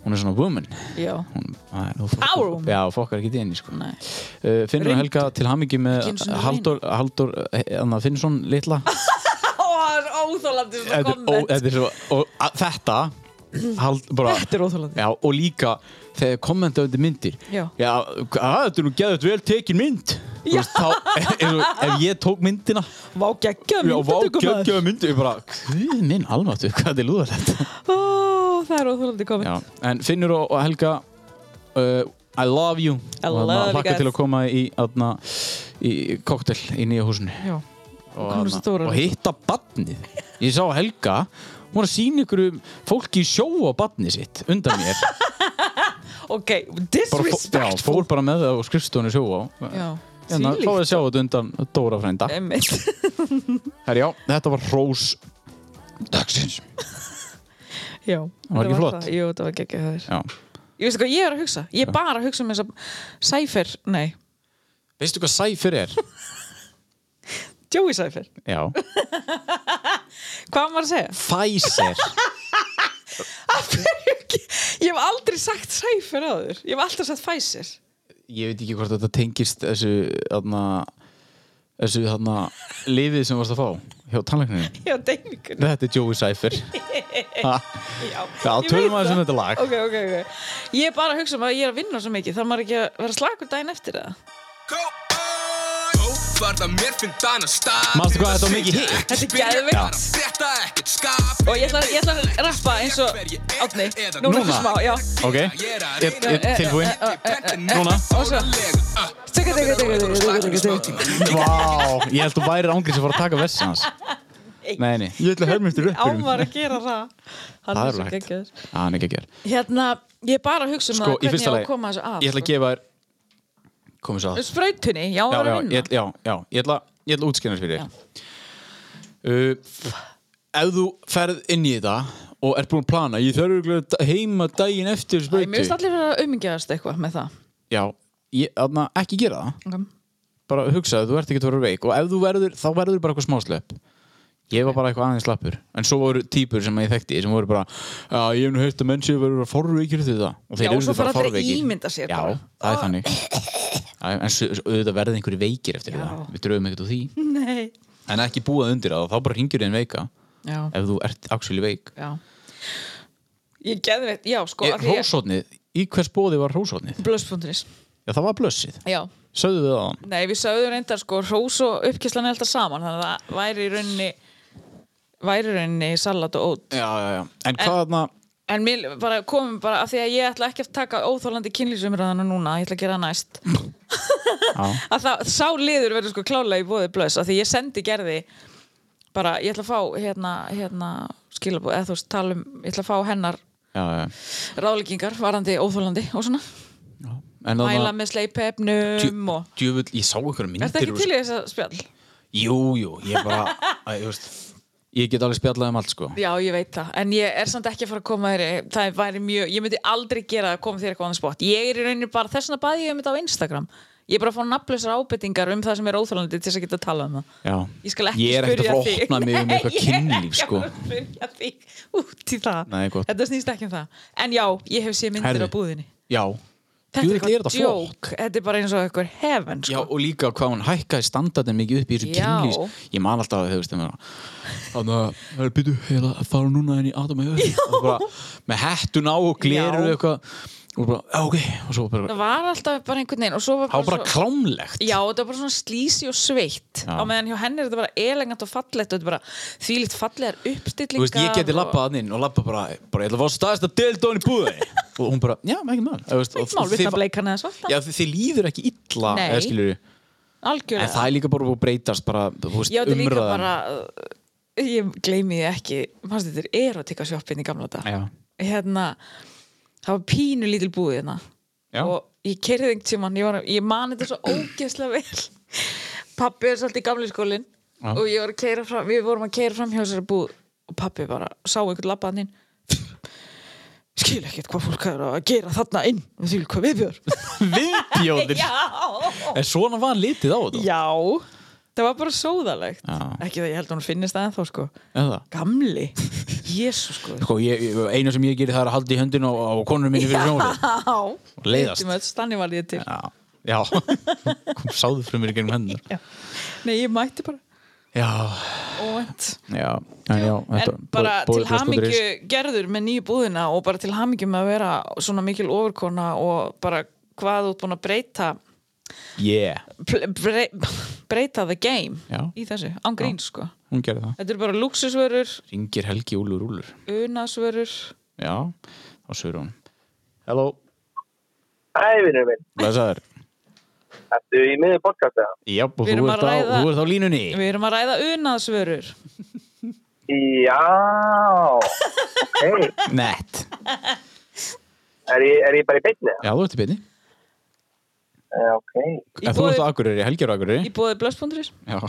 Speaker 2: hún er svona woman
Speaker 3: Já,
Speaker 2: hún, að, nú, fólk-
Speaker 3: Power woman.
Speaker 2: Já, fokkar ekki inn í sko
Speaker 3: nei
Speaker 2: uh, Finnur og Helga til hamingi
Speaker 3: Ekki
Speaker 2: með
Speaker 3: einu sinni
Speaker 2: Haldur, Haldur Anna Finnsson litla
Speaker 3: Ó, það er óþólandi svona
Speaker 2: Þetta er ó-
Speaker 3: komment
Speaker 2: þetta er svo og, að, Þetta hald, bara,
Speaker 3: Þetta er óþolandi.
Speaker 2: Já, og líka þegar kommenta undir myndir
Speaker 3: Já.
Speaker 2: já að, þetta er nú geðvægt vel tekin mynd Þú veist, þá, eins og ef ég tók myndina
Speaker 3: Vá geggja
Speaker 2: já, vá, geggjaðu myndir ég bara, hvið minn almáttu, hvað þetta er lúðarlegt
Speaker 3: Ó, það er óþólandi komment
Speaker 2: Já, en Finnur og, og Helga uh, I love you
Speaker 3: I
Speaker 2: og
Speaker 3: love you
Speaker 2: hlakka
Speaker 3: guys.
Speaker 2: til að koma í, atna, í koktel í nýja húsinu
Speaker 3: Já,
Speaker 2: og,
Speaker 3: Komum svo stórar.
Speaker 2: og hitta badnið ég sá Helga, hún var að sína ykkur um fólki í sjó á badnið sitt undan mér
Speaker 3: ok,
Speaker 2: bara, fó- já,
Speaker 3: disrespectful
Speaker 2: fór bara með það og skrifstofinu sjó á
Speaker 3: Já,
Speaker 2: Hérna,
Speaker 3: þvílíkt.
Speaker 2: fáið að sjá þetta undan Dóra frænda
Speaker 3: Einmitt.
Speaker 2: Herjá, þetta var Rós dagsins
Speaker 3: Já,
Speaker 2: Var ekki
Speaker 3: þetta
Speaker 2: flott?
Speaker 3: það. Jú, þetta var geggja það
Speaker 2: Já.
Speaker 3: Ég veist hvað ég er að hugsa Ég er bara að hugsa um þess að Sæfer, nei,
Speaker 2: Veistu hvað sæfir er?
Speaker 3: Joey Sæfer
Speaker 2: Já,
Speaker 3: Hvað var maður að segja?
Speaker 2: Pfizer
Speaker 3: Ég hef aldrei sagt Sæfer áður Ég hef alltaf sagt Pfizer
Speaker 2: ég veit ekki hvort þetta tengist þessu þarna þessu þarna lifið sem varst að fá hjá tannleikninu.
Speaker 3: Já, deimingunni
Speaker 2: Þetta er Joey Cypher. Já,
Speaker 3: Já, ég
Speaker 2: tölum
Speaker 3: veit
Speaker 2: aðeins
Speaker 3: það.
Speaker 2: um þetta lag.
Speaker 3: Ok, ok, ok Ég er bara að hugsa um að ég er að vinna svo mikið Þarf maður ekki að vera slagur daginn eftir það
Speaker 2: Mástu hvað þetta var mikið hitt?
Speaker 3: Þetta er geðvikt Og ég ætla, ég ætla að rappa eins og Átni
Speaker 2: Núna?
Speaker 3: ertu smá, já
Speaker 2: Ok, ég ég- tilbúinn. Núna.
Speaker 3: Og svo Tökka, tökka, tökka, tökka, tökka, tökka
Speaker 2: Vá, ég held þú værir ángrið sem fór að taka vessi hans. Nei, nei. Ég ætla að höfum eftir
Speaker 3: Ámar að gera það Hann
Speaker 2: Það
Speaker 3: er
Speaker 2: er
Speaker 3: svo
Speaker 2: lagt.
Speaker 3: geggjaður
Speaker 2: Já, hann er ekki að gera.
Speaker 3: Hérna, ég er bara að hugsa um
Speaker 2: Sko,
Speaker 3: það
Speaker 2: í
Speaker 3: Hvernig
Speaker 2: fyrsta
Speaker 3: ég á
Speaker 2: lagi,
Speaker 3: að koma þessu að
Speaker 2: ég ætla að
Speaker 3: sko.
Speaker 2: gefa þér, komið svo að.
Speaker 3: Sprautunni, já,
Speaker 2: Já,
Speaker 3: það
Speaker 2: já,
Speaker 3: er að
Speaker 2: ég
Speaker 3: vinna
Speaker 2: ætla, já, já, ég ætla, ég ætla að útskýra þess fyrir þér. Uh, ef þú ferð inn í þetta og ert búin að plana, ég þarf örugglega að da- heima daginn eftir
Speaker 3: Æ, Mér
Speaker 2: sprautu.
Speaker 3: finnst allir vera að aumingjast eitthvað með það
Speaker 2: Já, ég, þarna, ekki gera það
Speaker 3: Ok.
Speaker 2: bara hugsaðu, þú ert ekki að vera veik og ef þú verður, þá verður bara eitthvað smáslöp ég var bara eitthvað aðeins slappur en svo voru típur sem ég þekkti sem voru bara, já, ég hef nú heyrt að menn séu verður að forveikir því það og þeir
Speaker 3: Já, og
Speaker 2: eru
Speaker 3: svo
Speaker 2: bara
Speaker 3: fara allir að
Speaker 2: forveikir
Speaker 3: ímynda sér
Speaker 2: já,
Speaker 3: bara. Ah.
Speaker 2: það er þannig Já, en svo- svo auðvitað verða einhverju veikir eftir það við dröfum ekkert úr því
Speaker 3: Nei
Speaker 2: en ekki búað undir það, þá bara ringir einn veika
Speaker 3: Já,
Speaker 2: ef þú ert actually veik
Speaker 3: já Ég geði veit, já, sko af því ég-
Speaker 2: Rósótnið, í hvers bóði var rósótnið?
Speaker 3: Blöss.is
Speaker 2: Já, það var blössið,
Speaker 3: Já,
Speaker 2: sögðu við það
Speaker 3: nei við sögðum reyndar sko hrós og uppkyslan er alltaf saman þannig að það væri í rauninni væri í rauninni salat og ót
Speaker 2: Já, já, já, en hvað þarna
Speaker 3: en mér bara komum bara af því að ég ætla ekki að taka óþólandi kynlýsumræðana núna ég ætla að gera það næst að það sá liður verður sko klálega í bóði blöðs af því ég sendi gerði bara ég ætla að fá hérna, hérna skilabóð eða þú veist talum ég ætla að fá hennar
Speaker 2: Já, já,
Speaker 3: ráðleggingar varandi óþólandi og svona
Speaker 2: en
Speaker 3: mæla
Speaker 2: þarna
Speaker 3: með sleipefnum og
Speaker 2: Djöfull, ég sá einhverja myndir
Speaker 3: Er þetta ekki
Speaker 2: og-
Speaker 3: til í þess spjall?
Speaker 2: Jú, jú, ég bara að, ég, veist, ég get alveg spjallað um allt sko
Speaker 3: Já, ég veit það, en ég er samt ekki að fara að koma þér, það væri mjög, ég myndi aldrei gera að koma þér eitthvað á það spott, ég er í rauninni bara, þess vegna baði ég um þetta á Instagram ég er bara að fá nafnlausar ábyrtingar um það sem er óþálandi til þess að geta að tala um það
Speaker 2: Já.
Speaker 3: ég skal ekki
Speaker 2: Ég er ekkert
Speaker 3: spyrja
Speaker 2: að
Speaker 3: þig.
Speaker 2: opna mig um
Speaker 3: Nei,
Speaker 2: eitthvað
Speaker 3: ég er
Speaker 2: kynlíf,
Speaker 3: ekki að
Speaker 2: sko.
Speaker 3: fara að spyrja þig út í það,
Speaker 2: Nei, gott.
Speaker 3: þetta snýst ekki um það en já, ég hef séð myndir
Speaker 2: Herðu.
Speaker 3: á búðinni
Speaker 2: Já,
Speaker 3: þetta
Speaker 2: Djöfull, er þetta flott.
Speaker 3: joke, þetta er bara eins og eitthvað heaven
Speaker 2: Já,
Speaker 3: sko.
Speaker 2: og líka hvað hún hækkaði standardin mikið upp í þessu
Speaker 3: Já.
Speaker 2: kynlýs Ég man alltaf að þau veist Þannig að það er býtu Ég ætla að fara núna inn í Adam og Eva." Og bara Með hettun á og gleru
Speaker 3: Já.
Speaker 2: eitthvað Og bara, já ok Og svo bara,
Speaker 3: það var alltaf bara einhvern veginn og svo var
Speaker 2: það var bara
Speaker 3: svo-
Speaker 2: klámlegt
Speaker 3: Já, þetta var bara svona slísi og sveitt
Speaker 2: Já.
Speaker 3: á meðan hjá henni er þetta bara elegant og fallegt og þetta er bara þvílitt fallegar
Speaker 2: Þú
Speaker 3: uppstillingar
Speaker 2: veist, ég geti
Speaker 3: og-
Speaker 2: lappað hann inn og lappað bara, bara Ég ætla að fá staðist að delta hann í búði Og hún bara, já, ekki mál Þú veist, og-
Speaker 3: Mál,
Speaker 2: og
Speaker 3: við það
Speaker 2: þið-
Speaker 3: bleik hann eða svarta
Speaker 2: Já, þið þið líður ekki illa
Speaker 3: Nei.
Speaker 2: eða skilurðu. En
Speaker 3: Algjörlega
Speaker 2: það er líka bara búið að breytast bara, þú veist,
Speaker 3: Já, þetta er líka
Speaker 2: umræðan.
Speaker 3: bara uh, ég gleymi því ekki mannstu þetta er erotika sjoppin í gamla dag
Speaker 2: Já.
Speaker 3: hérna, það var pínu lítil búið hérna
Speaker 2: Já.
Speaker 3: og ég kerði þengt sem hann ég, var, ég man þetta svo ógeðslega vel pappi er svolítið í gamli skólin
Speaker 2: Já.
Speaker 3: og ég var að keira fram við vorum að keira fram hjá þessari búð og pappi bara sá einhvern labbaðan inn skil ekkert hvað fólk er að gera þarna inn og því hvað viðbjör
Speaker 2: Viðbjóðir.
Speaker 3: já,
Speaker 2: En svona var litið á þetta.
Speaker 3: já það var bara sóðalegt
Speaker 2: Já.
Speaker 3: ekki það ég held að hún finnist það ennþá sko
Speaker 2: Eða?
Speaker 3: gamli, jésu sko
Speaker 2: Sko, ég, ég- eina sem ég geri það er að halda í höndin á, á konunum minni fyrir sjónvarpið.
Speaker 3: já,
Speaker 2: leiðast.
Speaker 3: þannig var ég til
Speaker 2: Já, já. Kom sáðu fyrir mér í gerum hendur.
Speaker 3: nei, ég mætti bara
Speaker 2: Já,
Speaker 3: óvænt
Speaker 2: já, en já. þetta-
Speaker 3: en bara
Speaker 2: bó-
Speaker 3: til
Speaker 2: bóðið plast punktur is.
Speaker 3: hamingju gerður með nýju búðina og bara til hamingju með að vera svona mikil ofurkona og bara hvað þú ert búin að breyta
Speaker 2: Yeah,
Speaker 3: bre, bre- breyta the game
Speaker 2: Já.
Speaker 3: í þessu, án grín sko
Speaker 2: hún gerði það.
Speaker 3: þetta eru bara luxusvörur,
Speaker 2: Ringir Helgi Úlur Úlur.
Speaker 3: unasvörur
Speaker 2: Já, þá sögur hún. Hello.
Speaker 8: Æ, vinnur minn,
Speaker 2: Blessaður.
Speaker 8: ertu í miður podcast eða?
Speaker 2: Já, og þú
Speaker 3: Við erum
Speaker 2: ert, á,
Speaker 3: að ræða-
Speaker 2: þú ert á línunni.
Speaker 3: við erum að ræða unasvörur
Speaker 8: Já, ok,
Speaker 2: Nett.
Speaker 8: er ég, er ég bara í beinni eða?
Speaker 2: Já, þú ert í byrni.
Speaker 8: Eh, Ok,
Speaker 2: En þú
Speaker 3: boði-
Speaker 2: ert á Akureyri, Helgi er á Akureyri.
Speaker 3: í bóði blöss.is
Speaker 2: Já.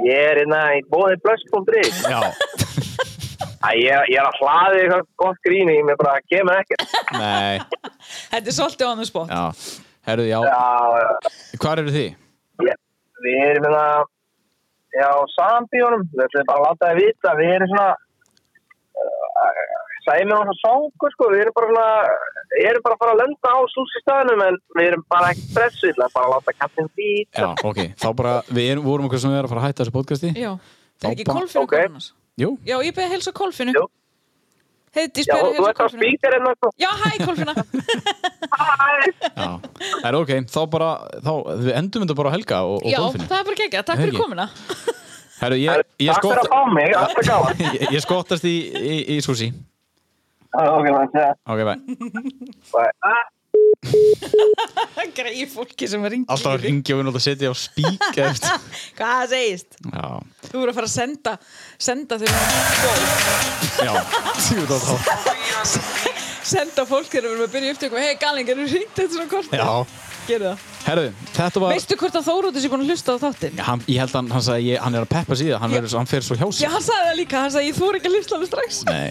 Speaker 8: ég er hérna í bóði blöss.is.
Speaker 2: Já.
Speaker 8: Æ, ég, ég er að hlaði eitthvað gott gríni, ég mér bara kemur ekkert.
Speaker 2: Nei,
Speaker 3: þetta er svolítið on the spot
Speaker 2: já. Herðu, já.
Speaker 8: Já,
Speaker 2: Hvar eru þið?
Speaker 8: ég, við erum hérna, já, sambíunum, við ætlum bara að láta það vita, við erum svona, uh, sæmi og svona songur, sko, við erum bara svona, við erum bara að fara að lenda á súsistæðunum, en við erum bara ekki pressu, við ætlum bara að láta kattin vita.
Speaker 2: Já, ok. Þá bara, við erum, vorum okkur sem við erum að fara að hætta þessu podcasti.
Speaker 3: já,
Speaker 2: Þá
Speaker 3: er ekki
Speaker 2: bara-
Speaker 3: kolfinu
Speaker 8: Ok.
Speaker 3: okay. konunars
Speaker 2: Jú.
Speaker 3: já, ég beði að helsa kolfinu
Speaker 8: Jú.
Speaker 3: heiðdís
Speaker 8: Já,
Speaker 3: beði að
Speaker 8: þú
Speaker 3: helsa
Speaker 8: ert á
Speaker 3: kolfinu
Speaker 8: spíkarinn, sko.
Speaker 3: já, hæ kolfina
Speaker 8: Hæ!
Speaker 2: Já. En ok, þá bara, þá, við endum þetta bara á Helga og, og
Speaker 3: já,
Speaker 2: Dolfinu.
Speaker 3: það er bara geggjað, takk
Speaker 2: Helgi.
Speaker 3: fyrir komuna
Speaker 2: Herru, ég, ég,
Speaker 8: Takk fyrir
Speaker 2: skott,
Speaker 8: að fá mig, alltaf gáðan.
Speaker 2: ég, ég skottast í, í, í sushi.
Speaker 8: Ok, maður sé
Speaker 2: Ok, bæ.
Speaker 8: það.
Speaker 3: greið fólki sem ringi
Speaker 2: Alltaf að ringja og við náttúrulega að setja á spík eftir.
Speaker 3: hvað segist,
Speaker 2: Já,
Speaker 3: þú voru að fara að senda senda þeir wow.
Speaker 2: já. Sýðu þá þá.
Speaker 3: senda fólk þegar við erum að byrja upptökum hei galning, erum við ringt eftir svona kort
Speaker 2: Já.
Speaker 3: gerðu það,
Speaker 2: Herru, þetta var...
Speaker 3: veistu hvort að Þóróttis er búin að hlusta á þáttinn
Speaker 2: Hann, ég held að hann, hann sagði, ég, hann er að peppa síðan, hann,
Speaker 3: Já.
Speaker 2: verður svo- hann fer svo hjá
Speaker 3: já,
Speaker 2: sig.
Speaker 3: hann sagði það líka, hann sagði ég þúr ekki að hlusta á mig strax
Speaker 2: Nei.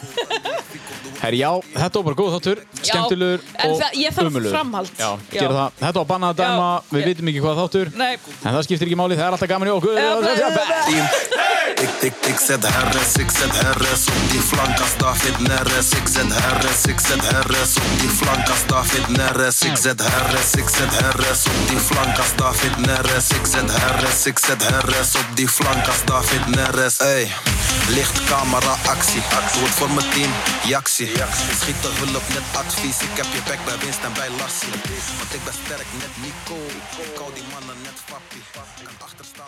Speaker 2: Herri, já, þetta var bara góð þáttur,
Speaker 3: Já,
Speaker 2: skemmtilegur
Speaker 3: en
Speaker 2: og
Speaker 3: það- ég þarf
Speaker 2: ömurlegur.
Speaker 3: framhald.
Speaker 2: Já,
Speaker 3: Já.
Speaker 2: gera það. Þetta var bannað að
Speaker 3: Já.
Speaker 2: dæma, við
Speaker 3: Ég-
Speaker 2: vitum ekki hvað þáttur.
Speaker 3: Nei.
Speaker 2: En það skiptir ekki máli, það er alltaf gaman í okkur.
Speaker 3: Já, blæ, blæ, blæ.
Speaker 9: Ik tik tik zet RS, ik zet RS op die flank als David Neres. Ik zet RS, ik zet RS op die flank als David Neres. Ik zet RS, ik zet RS op die flank als David Neres. Ik zet RS, ik zet RS op die flank als David Neres. Ey. Licht, camera, actie. Actie wordt voor mijn team, jactie. Schiet de hulp, net advies. Ik heb je bek bij winst en bij Larsie. Want ik ben sterk, net Nico. Ik hou die mannen net papi. Kan achterstaan